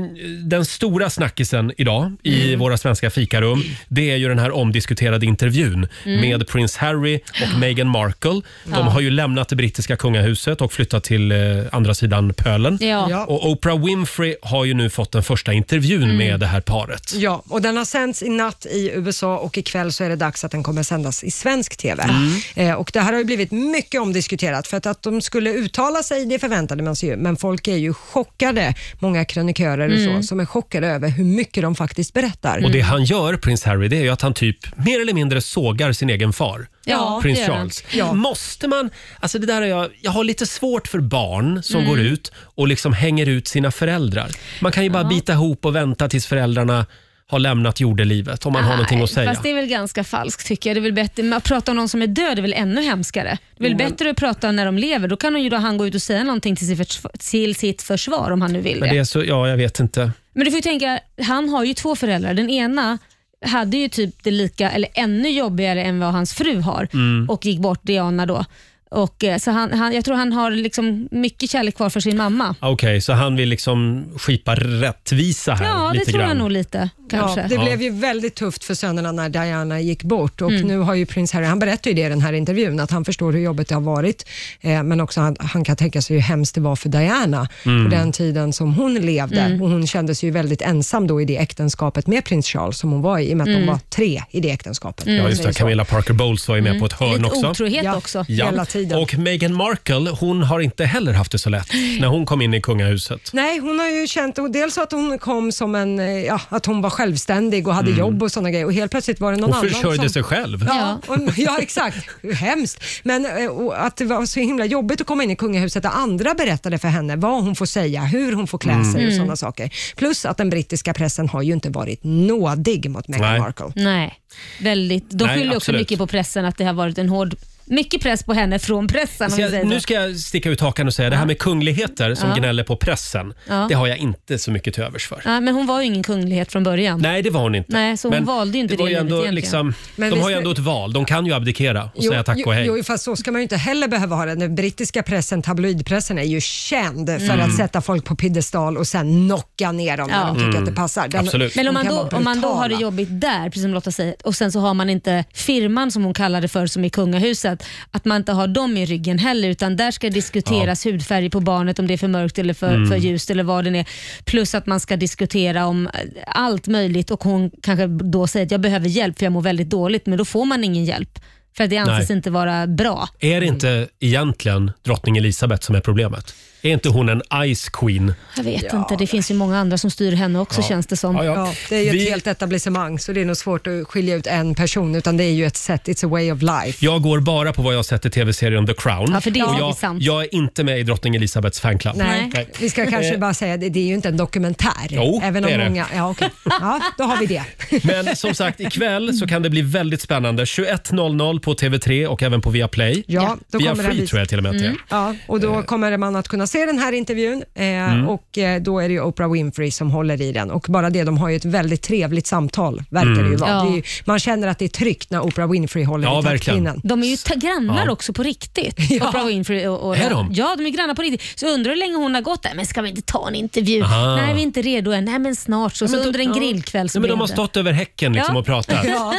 A: den stora snackisen idag i våra svenska fikarum. Det är ju den här omdiskuterade intervjun
F: Mm.
A: med prins Harry och Meghan Markle. De
F: Ja.
A: har ju lämnat det brittiska kungahuset och flyttat till eh, andra sidan pölen.
D: Ja. Ja.
A: Och Oprah Winfrey har ju nu fått den första intervjun med det här paret.
B: Ja, och den har sänts i natt i USA och ikväll så är det dags att den kommer sändas i svensk TV.
A: Mm.
B: Eh, och det här har ju blivit mycket omdiskuterat för att, att de skulle uttala sig, det förväntade man sig ju, men folk är ju chockade, många krönikörer och
A: Mm.
B: så, som är chockade över hur mycket de faktiskt berättar.
A: Och det han gör, prins Harry, det är ju att han typ mer eller mindre sågar sin egen far.
B: Ja,
A: prins
B: det gör han.
A: Charles.
B: Ja.
A: Måste man, alltså det där är jag, jag har lite svårt för barn som
D: Mm.
A: går ut och liksom hänger ut sina föräldrar. Man kan ju bara bita ihop och vänta tills föräldrarna har lämnat jordelivet om man har någonting att säga.
D: Fast det är väl ganska falskt tycker jag. Det är väl bättre, men att prata om någon som är död är väl ännu hemskare. Det är väl
A: Mm.
D: bättre att prata när de lever. Då kan hon ju då han gå ut och säga någonting till sitt, försvar, till sitt försvar om han nu vill det.
A: Men det är så, ja jag vet inte.
D: Men du får ju tänka, han har ju två föräldrar. Den ena hade ju typ det lika, eller ännu jobbigare än vad hans fru har
A: Mm.
D: och gick bort, Diana då. Och, eh, så han, han, jag tror han har liksom mycket kärlek kvar för sin mamma.
A: Ah, Okej, så han vill liksom skipa rättvisa här
D: Ja, det
A: lite
D: tror
A: grann.
D: jag nog lite kanske.
B: Ja, det blev ju väldigt tufft för sönerna när Diana gick bort
D: Mm.
B: och nu har ju prins Harry, han berättar ju det i den här intervjun, att han förstår hur jobbigt det har varit, eh, men också att han kan tänka sig hur hemskt det var för Diana
E: Mm.
B: på den tiden som hon levde
E: Mm.
B: och hon kändes ju väldigt ensam då i det äktenskapet med prins Charles som hon var i, i och med att
D: Mm.
B: de var tre i det äktenskapet.
A: Ja, just det. Camilla Parker Bowles var ju med
B: Mm.
A: på ett hörn
B: Lite
A: också.
B: otrohet
A: ja.
B: också. Hela tiden.
A: Och Meghan Markle, hon har inte heller haft det så lätt när hon kom in i kungahuset.
B: Nej, hon har ju känt, och dels att hon kom som en, eh, ja, att hon var självständig och hade
A: Mm.
B: jobb och sådana grejer och helt plötsligt var det någon
A: Hon
B: annan
A: försörjde
B: som...
A: sig själv.
B: Ja, och, ja exakt. Hemskt. Men eh, och att det var så himla jobbigt att komma in i kungahuset där andra berättade för henne vad hon får säga, hur hon får klä
A: Mm.
B: sig och
A: Mm.
B: sådana saker. Plus att den brittiska pressen har ju inte varit nådig mot Meghan
A: Nej.
B: Markle.
D: Nej, väldigt. De
A: Nej,
D: skyller också
A: absolut.
D: mycket på pressen att det har varit en hård mycket press på henne från pressen. Om
A: Så Alltså,
D: vi
A: jag,
D: säger
A: nu
D: så.
A: ska jag sticka ut hakan och säga det här med kungligheter som
D: Ja.
A: gnäller på pressen.
D: Ja.
A: Det har jag inte så mycket till övers för.
D: Nej, men hon var ju ingen kunglighet från början.
A: Nej, det var hon inte.
D: Nej, så hon
A: Men
D: valde ju inte
A: var
D: det
A: ju
D: livet
A: ändå,
D: egentligen.
A: liksom,
B: Men
A: De
B: visst
A: har ju ändå
B: är-
A: ett val. De kan ju abdikera och säga tack och hej.
B: Jo, jo, fast så ska man ju inte heller behöva ha det. Den brittiska pressen, tabloidpressen, är ju känd för
A: Mm.
B: att sätta folk på piedestal och sen knocka ner dem när
D: Ja.
B: de tycker
A: Mm.
B: att det passar.
A: Absolut.
D: Men om man,
B: kan
D: då,
B: vara
D: om man då har det
B: brutala.
D: jobbigt där, precis som Lotta säger, och sen så har man inte firman som hon kallade för som i kungahuset, att man inte har dem i ryggen heller utan där ska diskuteras hudfärg på barnet, om det är för mörkt eller för,
L: Mm.
D: för ljust eller vad det är. Plus att man ska diskutera om eh, allt möjligt och hon kanske då säger att jag behöver hjälp för jag mår väldigt dåligt, men då får man ingen hjälp. För det anses
A: Nej.
D: inte vara bra.
A: Är det inte egentligen drottning Elisabeth som är problemet? Är inte hon en ice queen?
D: Jag vet inte, det finns ju många andra som styr henne också
A: Ja.
D: känns det som.
A: Ja, ja.
B: Det är ju
A: Vi-
B: ett helt etablissemang, så det är nog svårt att skilja ut en person, utan det är ju ett sätt, it's a way of life.
A: Jag går bara på vad jag sett i tv-serien The Crown.
B: Ja, för det är
A: och
B: ju
A: jag,
B: sant.
A: jag är inte med i drottning Elisabeths fanclub.
B: Nej. Vi ska kanske
A: Eh,
B: bara säga det, det är ju inte en dokumentär.
A: Jo,
B: även
A: det
B: om
A: är det.
B: många, Ja, okej. ja, då har vi det.
A: Men som sagt, ikväll så kan det bli väldigt spännande. 21.00 på TV3 och även på Viaplay.
B: Ja, då
A: Via
B: kommer det här Mm.
A: Free
B: visa-
A: tror jag till och med att det är.
B: Ja, och då kommer man att kunna se den här intervjun eh,
A: Mm.
B: och eh, då är det ju Oprah Winfrey som håller i den och bara det, de har ju ett väldigt trevligt samtal verkar det ju
D: Mm.
B: vara.
D: Ja.
B: Det är ju, man känner att det är tryggt när Oprah Winfrey håller i taktpinnen.
D: De är ju ta- grannar
B: Ja.
D: också på riktigt. Oprah Winfrey och, och
B: Är de?
D: Ja, de är grannar på riktigt. Så undrar hur länge hon har gått där. Men ska vi inte ta en intervju?
A: Aha.
D: Nej, vi är inte redo än. Nej, men snart. Så,
A: Ja, men
D: så
A: då-
D: under en
A: ja.
D: grillkväll så
A: Nej, men
D: blev
A: de har
D: det.
A: stått över häcken liksom
D: Ja.
A: och pratat.
D: Ja.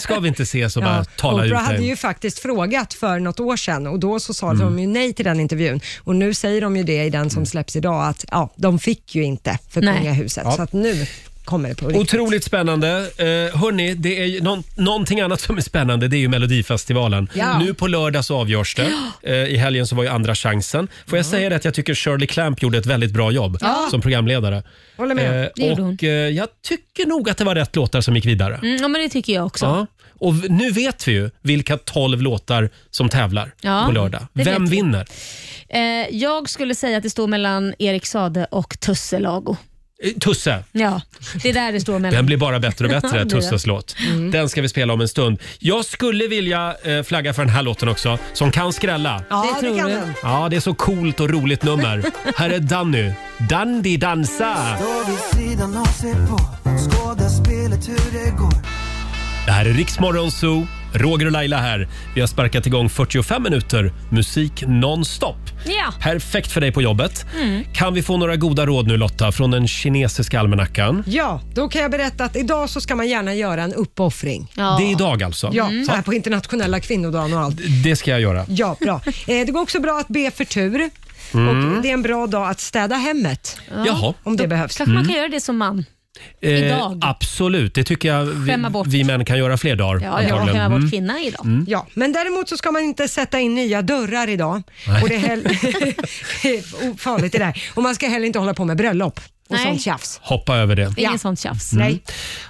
A: Ska vi inte ses och bara
B: Ja,
A: tala
B: Oprah
A: ut
B: hade
A: det? Mm.
B: ju faktiskt frågat för något år sedan och då så sa de ju nej till den intervjun och nu säger de ju det i den som släpps idag att ja, de fick ju inte för
A: Nej.
B: kungahuset
A: Ja.
B: så att nu kommer det på riktigt.
A: Otroligt spännande. Eh, hörni, det är ju någon, någonting annat som är spännande det är ju Melodifestivalen.
B: Ja.
A: Nu på lördag så avgörs det. Eh, I helgen så var ju andra chansen. Får jag säga det att jag tycker Shirley Clamp gjorde ett väldigt bra jobb
D: Ja.
A: som programledare.
B: Håller med.
A: Eh,
D: Det gjorde hon.
A: och eh, jag tycker nog att det var rätt låtar som gick vidare.
D: Mm, ja, men det tycker jag också.
A: Ja. Och v- nu vet vi ju vilka 12 låtar som tävlar
D: Ja,
A: på lördag.
D: det
A: Vem
D: vet vi.
A: vinner?
D: Eh, jag skulle säga att det står mellan Erik Sade och Tusse Lago.
A: Eh, Tusse.
D: Ja, det är där det står mellan.
A: Den blir bara bättre och
D: Ja,
A: bättre,
D: det blir det. Mm.
A: Tusses låt. Den ska vi spela om en stund. Jag skulle vilja eh, flagga för den här låten också, som kan skrälla.
B: Ja, det, kan
D: du.
B: den.
A: Ja, det är så coolt och roligt nummer. Här är Danny. Dandy dansa!
E: Står vid sidan och ser på, skådar spelet hur det går.
A: Det här är Riksmorgon Zoo. Roger och Laila här. Vi har sparkat igång 45 minuter musik nonstop.
D: Ja. Mm.
A: Perfekt för dig på jobbet. Kan vi få några goda råd nu Lotta från den kinesiska almanackan?
B: Ja, då kan jag berätta att idag så ska man gärna göra en uppoffring.
A: Det är idag alltså?
B: Ja,
A: Mm.
B: så här på internationella kvinnodagen och allt.
A: Det ska jag göra.
B: Ja, bra. Eh, det går också bra att be för tur.
A: Mm.
B: Och det är en bra dag att städa hemmet.
A: Jaha. Eh,
B: Om det behövs.
D: Kanske man
A: Mm.
D: kan göra det som man. idag.
A: Absolut, det tycker jag vi,
D: Skämma bort.
A: vi män kan göra fler dagar.
D: Ja, ja, man
A: antagligen.
D: kan ha
A: Mm.
D: varit kvinna idag.
A: Mm.
B: Ja, men däremot så ska man inte sätta in nya dörrar idag.
A: Nej.
B: Och det är heller- O, farligt det där. Och man ska heller inte hålla på med bröllop och
D: Nej.
B: sånt tjafs.
A: Hoppa över det.
D: Inget sånt tjafs.
A: Mm.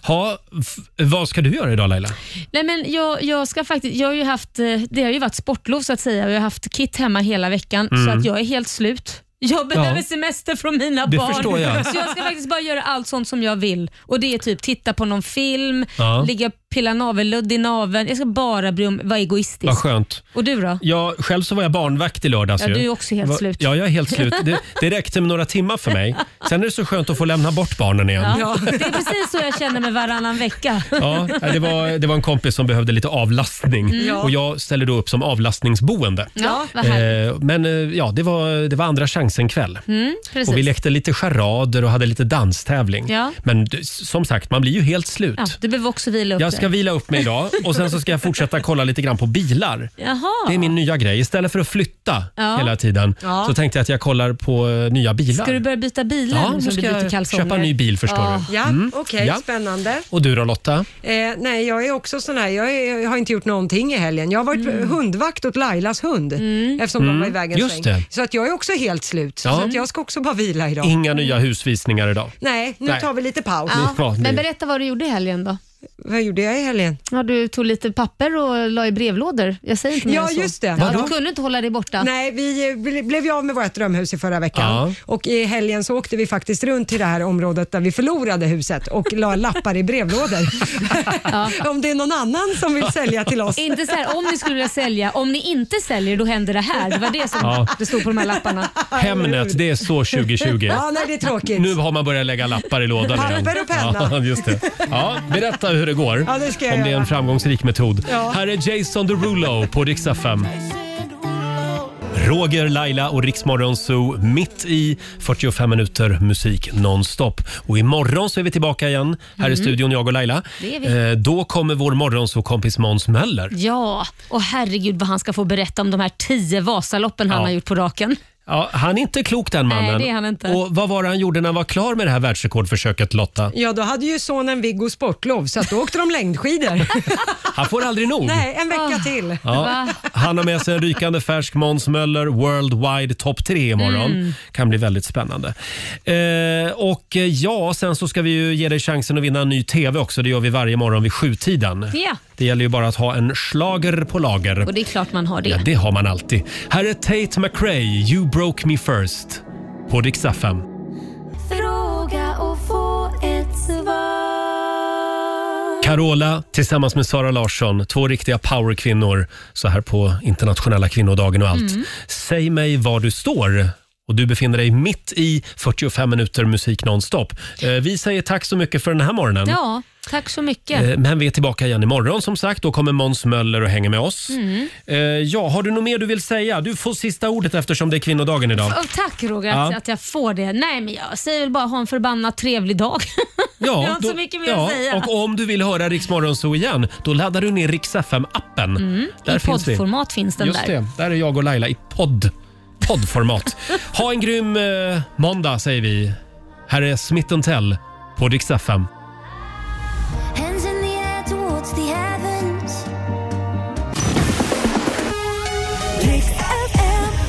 A: Ha, f- vad ska du göra idag Laila?
D: Nej, men jag, jag, ska faktiskt, jag har ju haft, eh, det har ju varit sportlov så att säga och jag har haft kit hemma hela veckan
A: Mm.
D: så att jag är helt slut. Jag behöver
A: Ja.
D: semester från mina
A: Det
D: barn.
A: förstår jag.
D: Så jag ska faktiskt bara göra allt sånt som jag vill. Och Det är typ titta på någon film,
A: Ja.
D: ligga och pilla navelludd i naveln. Jag ska bara bry om, vara egoistisk.
A: Vad skönt.
D: Och du då?
A: Ja, själv så var jag barnvakt i lördags.
D: Ja,
A: ju.
D: du är också helt
A: Va-
D: slut.
A: Ja, jag är helt slut. Det, det räckte med några timmar för mig. Sen är det så skönt att få lämna bort barnen igen.
D: Ja.
A: Ja.
D: Det är precis så jag känner mig varannan vecka.
A: nej, det, var, det var en kompis som behövde lite avlastning
D: Mm. Ja.
A: och jag ställde då upp som avlastningsboende.
D: Ja, vad härligt.
A: Eh, men eh, ja, det var, det var andra chansen kväll.
D: Mm, precis.
A: Eh, Och vi lekte lite charader och hade lite danstävling.
D: Ja.
A: Men du, som sagt, man blir ju helt slut.
D: ja, du behöver också vila upp
A: Jag ska
D: dig.
A: vila upp mig idag och sen så ska jag fortsätta kolla lite grann på bilar.
D: Jaha.
A: Det är min nya grej. Istället för att flytta
D: Ja.
A: hela tiden
D: Ja.
A: så tänkte jag att jag kollar på eh, nya bilar.
D: Ska du börja byta bilar
A: Ja,
D: nu
A: nu
D: som
A: ska
D: du byter
A: jag
D: kalsonger?
A: köpa en ny bil, förstår
D: Ja.
A: du.
B: Ja,
A: Mm.
B: okej,
A: Ja.
B: spännande.
A: Och du då Lotta?
B: Eh, nej, jag är också sån här. Jag, är, jag har inte gjort någonting i helgen. Jag har varit hundvakt åt Lailas hund eftersom
A: Mm,
B: de var i vägen
A: just
B: sväng.
A: det.
B: Så att jag är också helt slut.
A: Ja.
B: Så att jag ska också bara vila idag.
A: Inga nya husvisningar idag.
B: Nej, nu
A: Nej.
B: tar vi lite paus.
A: Ja, Ja, men det-
D: berätta vad du gjorde i helgen då.
B: vad gjorde jag i helgen?
D: Ja, du tog lite papper och la i brevlådor. Jag säger inte mer
B: Ja,
D: än så.
B: just det.
D: Ja,
B: Vadå?
D: du kunde inte hålla dig borta.
B: Nej, vi eh, ble- blev ju av med vårt drömhus i förra veckan och i helgen så åkte vi faktiskt runt till det här området där vi förlorade huset och la lappar i brevlådor. Om det är någon annan som vill sälja till oss.
D: Inte så här, om ni skulle vilja sälja, om ni inte säljer då händer det här. Det var det som
A: Ja.
D: det stod på de här lapparna.
A: Hämnet, det är så 2020.
D: Ja, nej, det är tråkigt.
A: Nu har man börjat lägga lappar i lådan
D: Papper
A: igen.
D: och penna.
A: Ja, just det. Ja, berätta hur det går.
B: Ja, det ska jag
A: om det är
B: göra.
A: en framgångsrik metod.
B: Ja.
A: Här är Jason Derulo på Rix FM. Roger, Laila och Riksmorgon Zoo mitt i 45 minuter musik nonstop. Och imorgon så är vi tillbaka igen här i
D: Mm.
A: studion, jag och Laila.
D: Det är vi.
A: Eh, då kommer vår morgonzoo-kompis Måns Möller.
D: Ja, och herregud vad han ska få berätta om de här tio Vasaloppen han
A: Ja.
D: har gjort på raken.
A: Ja, han är inte klok den
D: Nej,
A: mannen.
D: det är han inte.
A: Och vad var det han gjorde när han var klar med det här världsrekordförsöket Lotta?
B: Ja, då hade ju sonen Viggo sportlov så att då åkte de längdskidor.
A: Han får aldrig nog.
B: Nej, en
D: Ah.
B: vecka till.
A: Ja, han har med sig en rykande färsk Måns Möller Worldwide Top 3 imorgon.
B: Mm.
A: kan bli väldigt spännande. Eh, och eh, ja, sen så ska vi ju ge dig chansen att vinna en ny TV också. Det gör vi varje morgon vid sjutiden.
D: Ja.
A: Det gäller ju bara att ha en slager på lager.
D: Och det är klart man har det.
A: Ja, det har man alltid. Här är Tate McRae, You broke me first, på Dix FM.
E: Fråga och få ett svar.
A: Carola tillsammans med Sara Larsson, två riktiga powerkvinnor så här på internationella kvinnodagen och allt.
E: Mm.
A: Säg mig var du står. Och du befinner dig mitt i 45 minuter musik nonstop. Eh, Vi säger tack så mycket för den här morgonen.
D: Ja, tack så mycket.
A: Eh, Men vi är tillbaka igen imorgon som sagt. Då kommer Måns Möller och hänger med oss.
D: Mm.
A: Eh, Ja, har du något mer du vill säga? Du får sista ordet eftersom det är kvinnodagen idag.
D: Och tack Roger att,
A: Ja.
D: att jag får det. Nej men jag säger väl bara ha en förbannat trevlig dag. jag har inte
A: då-
D: så mycket mer
A: ja,
D: att säga.
A: Och om du vill höra Rix Morgonzoo igen, då laddar du ner Rix FM-appen.
D: Mm, I
A: vi.
D: poddformat finns den
A: Just
D: där.
A: det, där är jag och Laila i podd. Poddformat. ha en grym eh, måndag säger vi. Här är Smith Tell på Rix FM.
E: Hands in the air towards the heavens. Rix FM.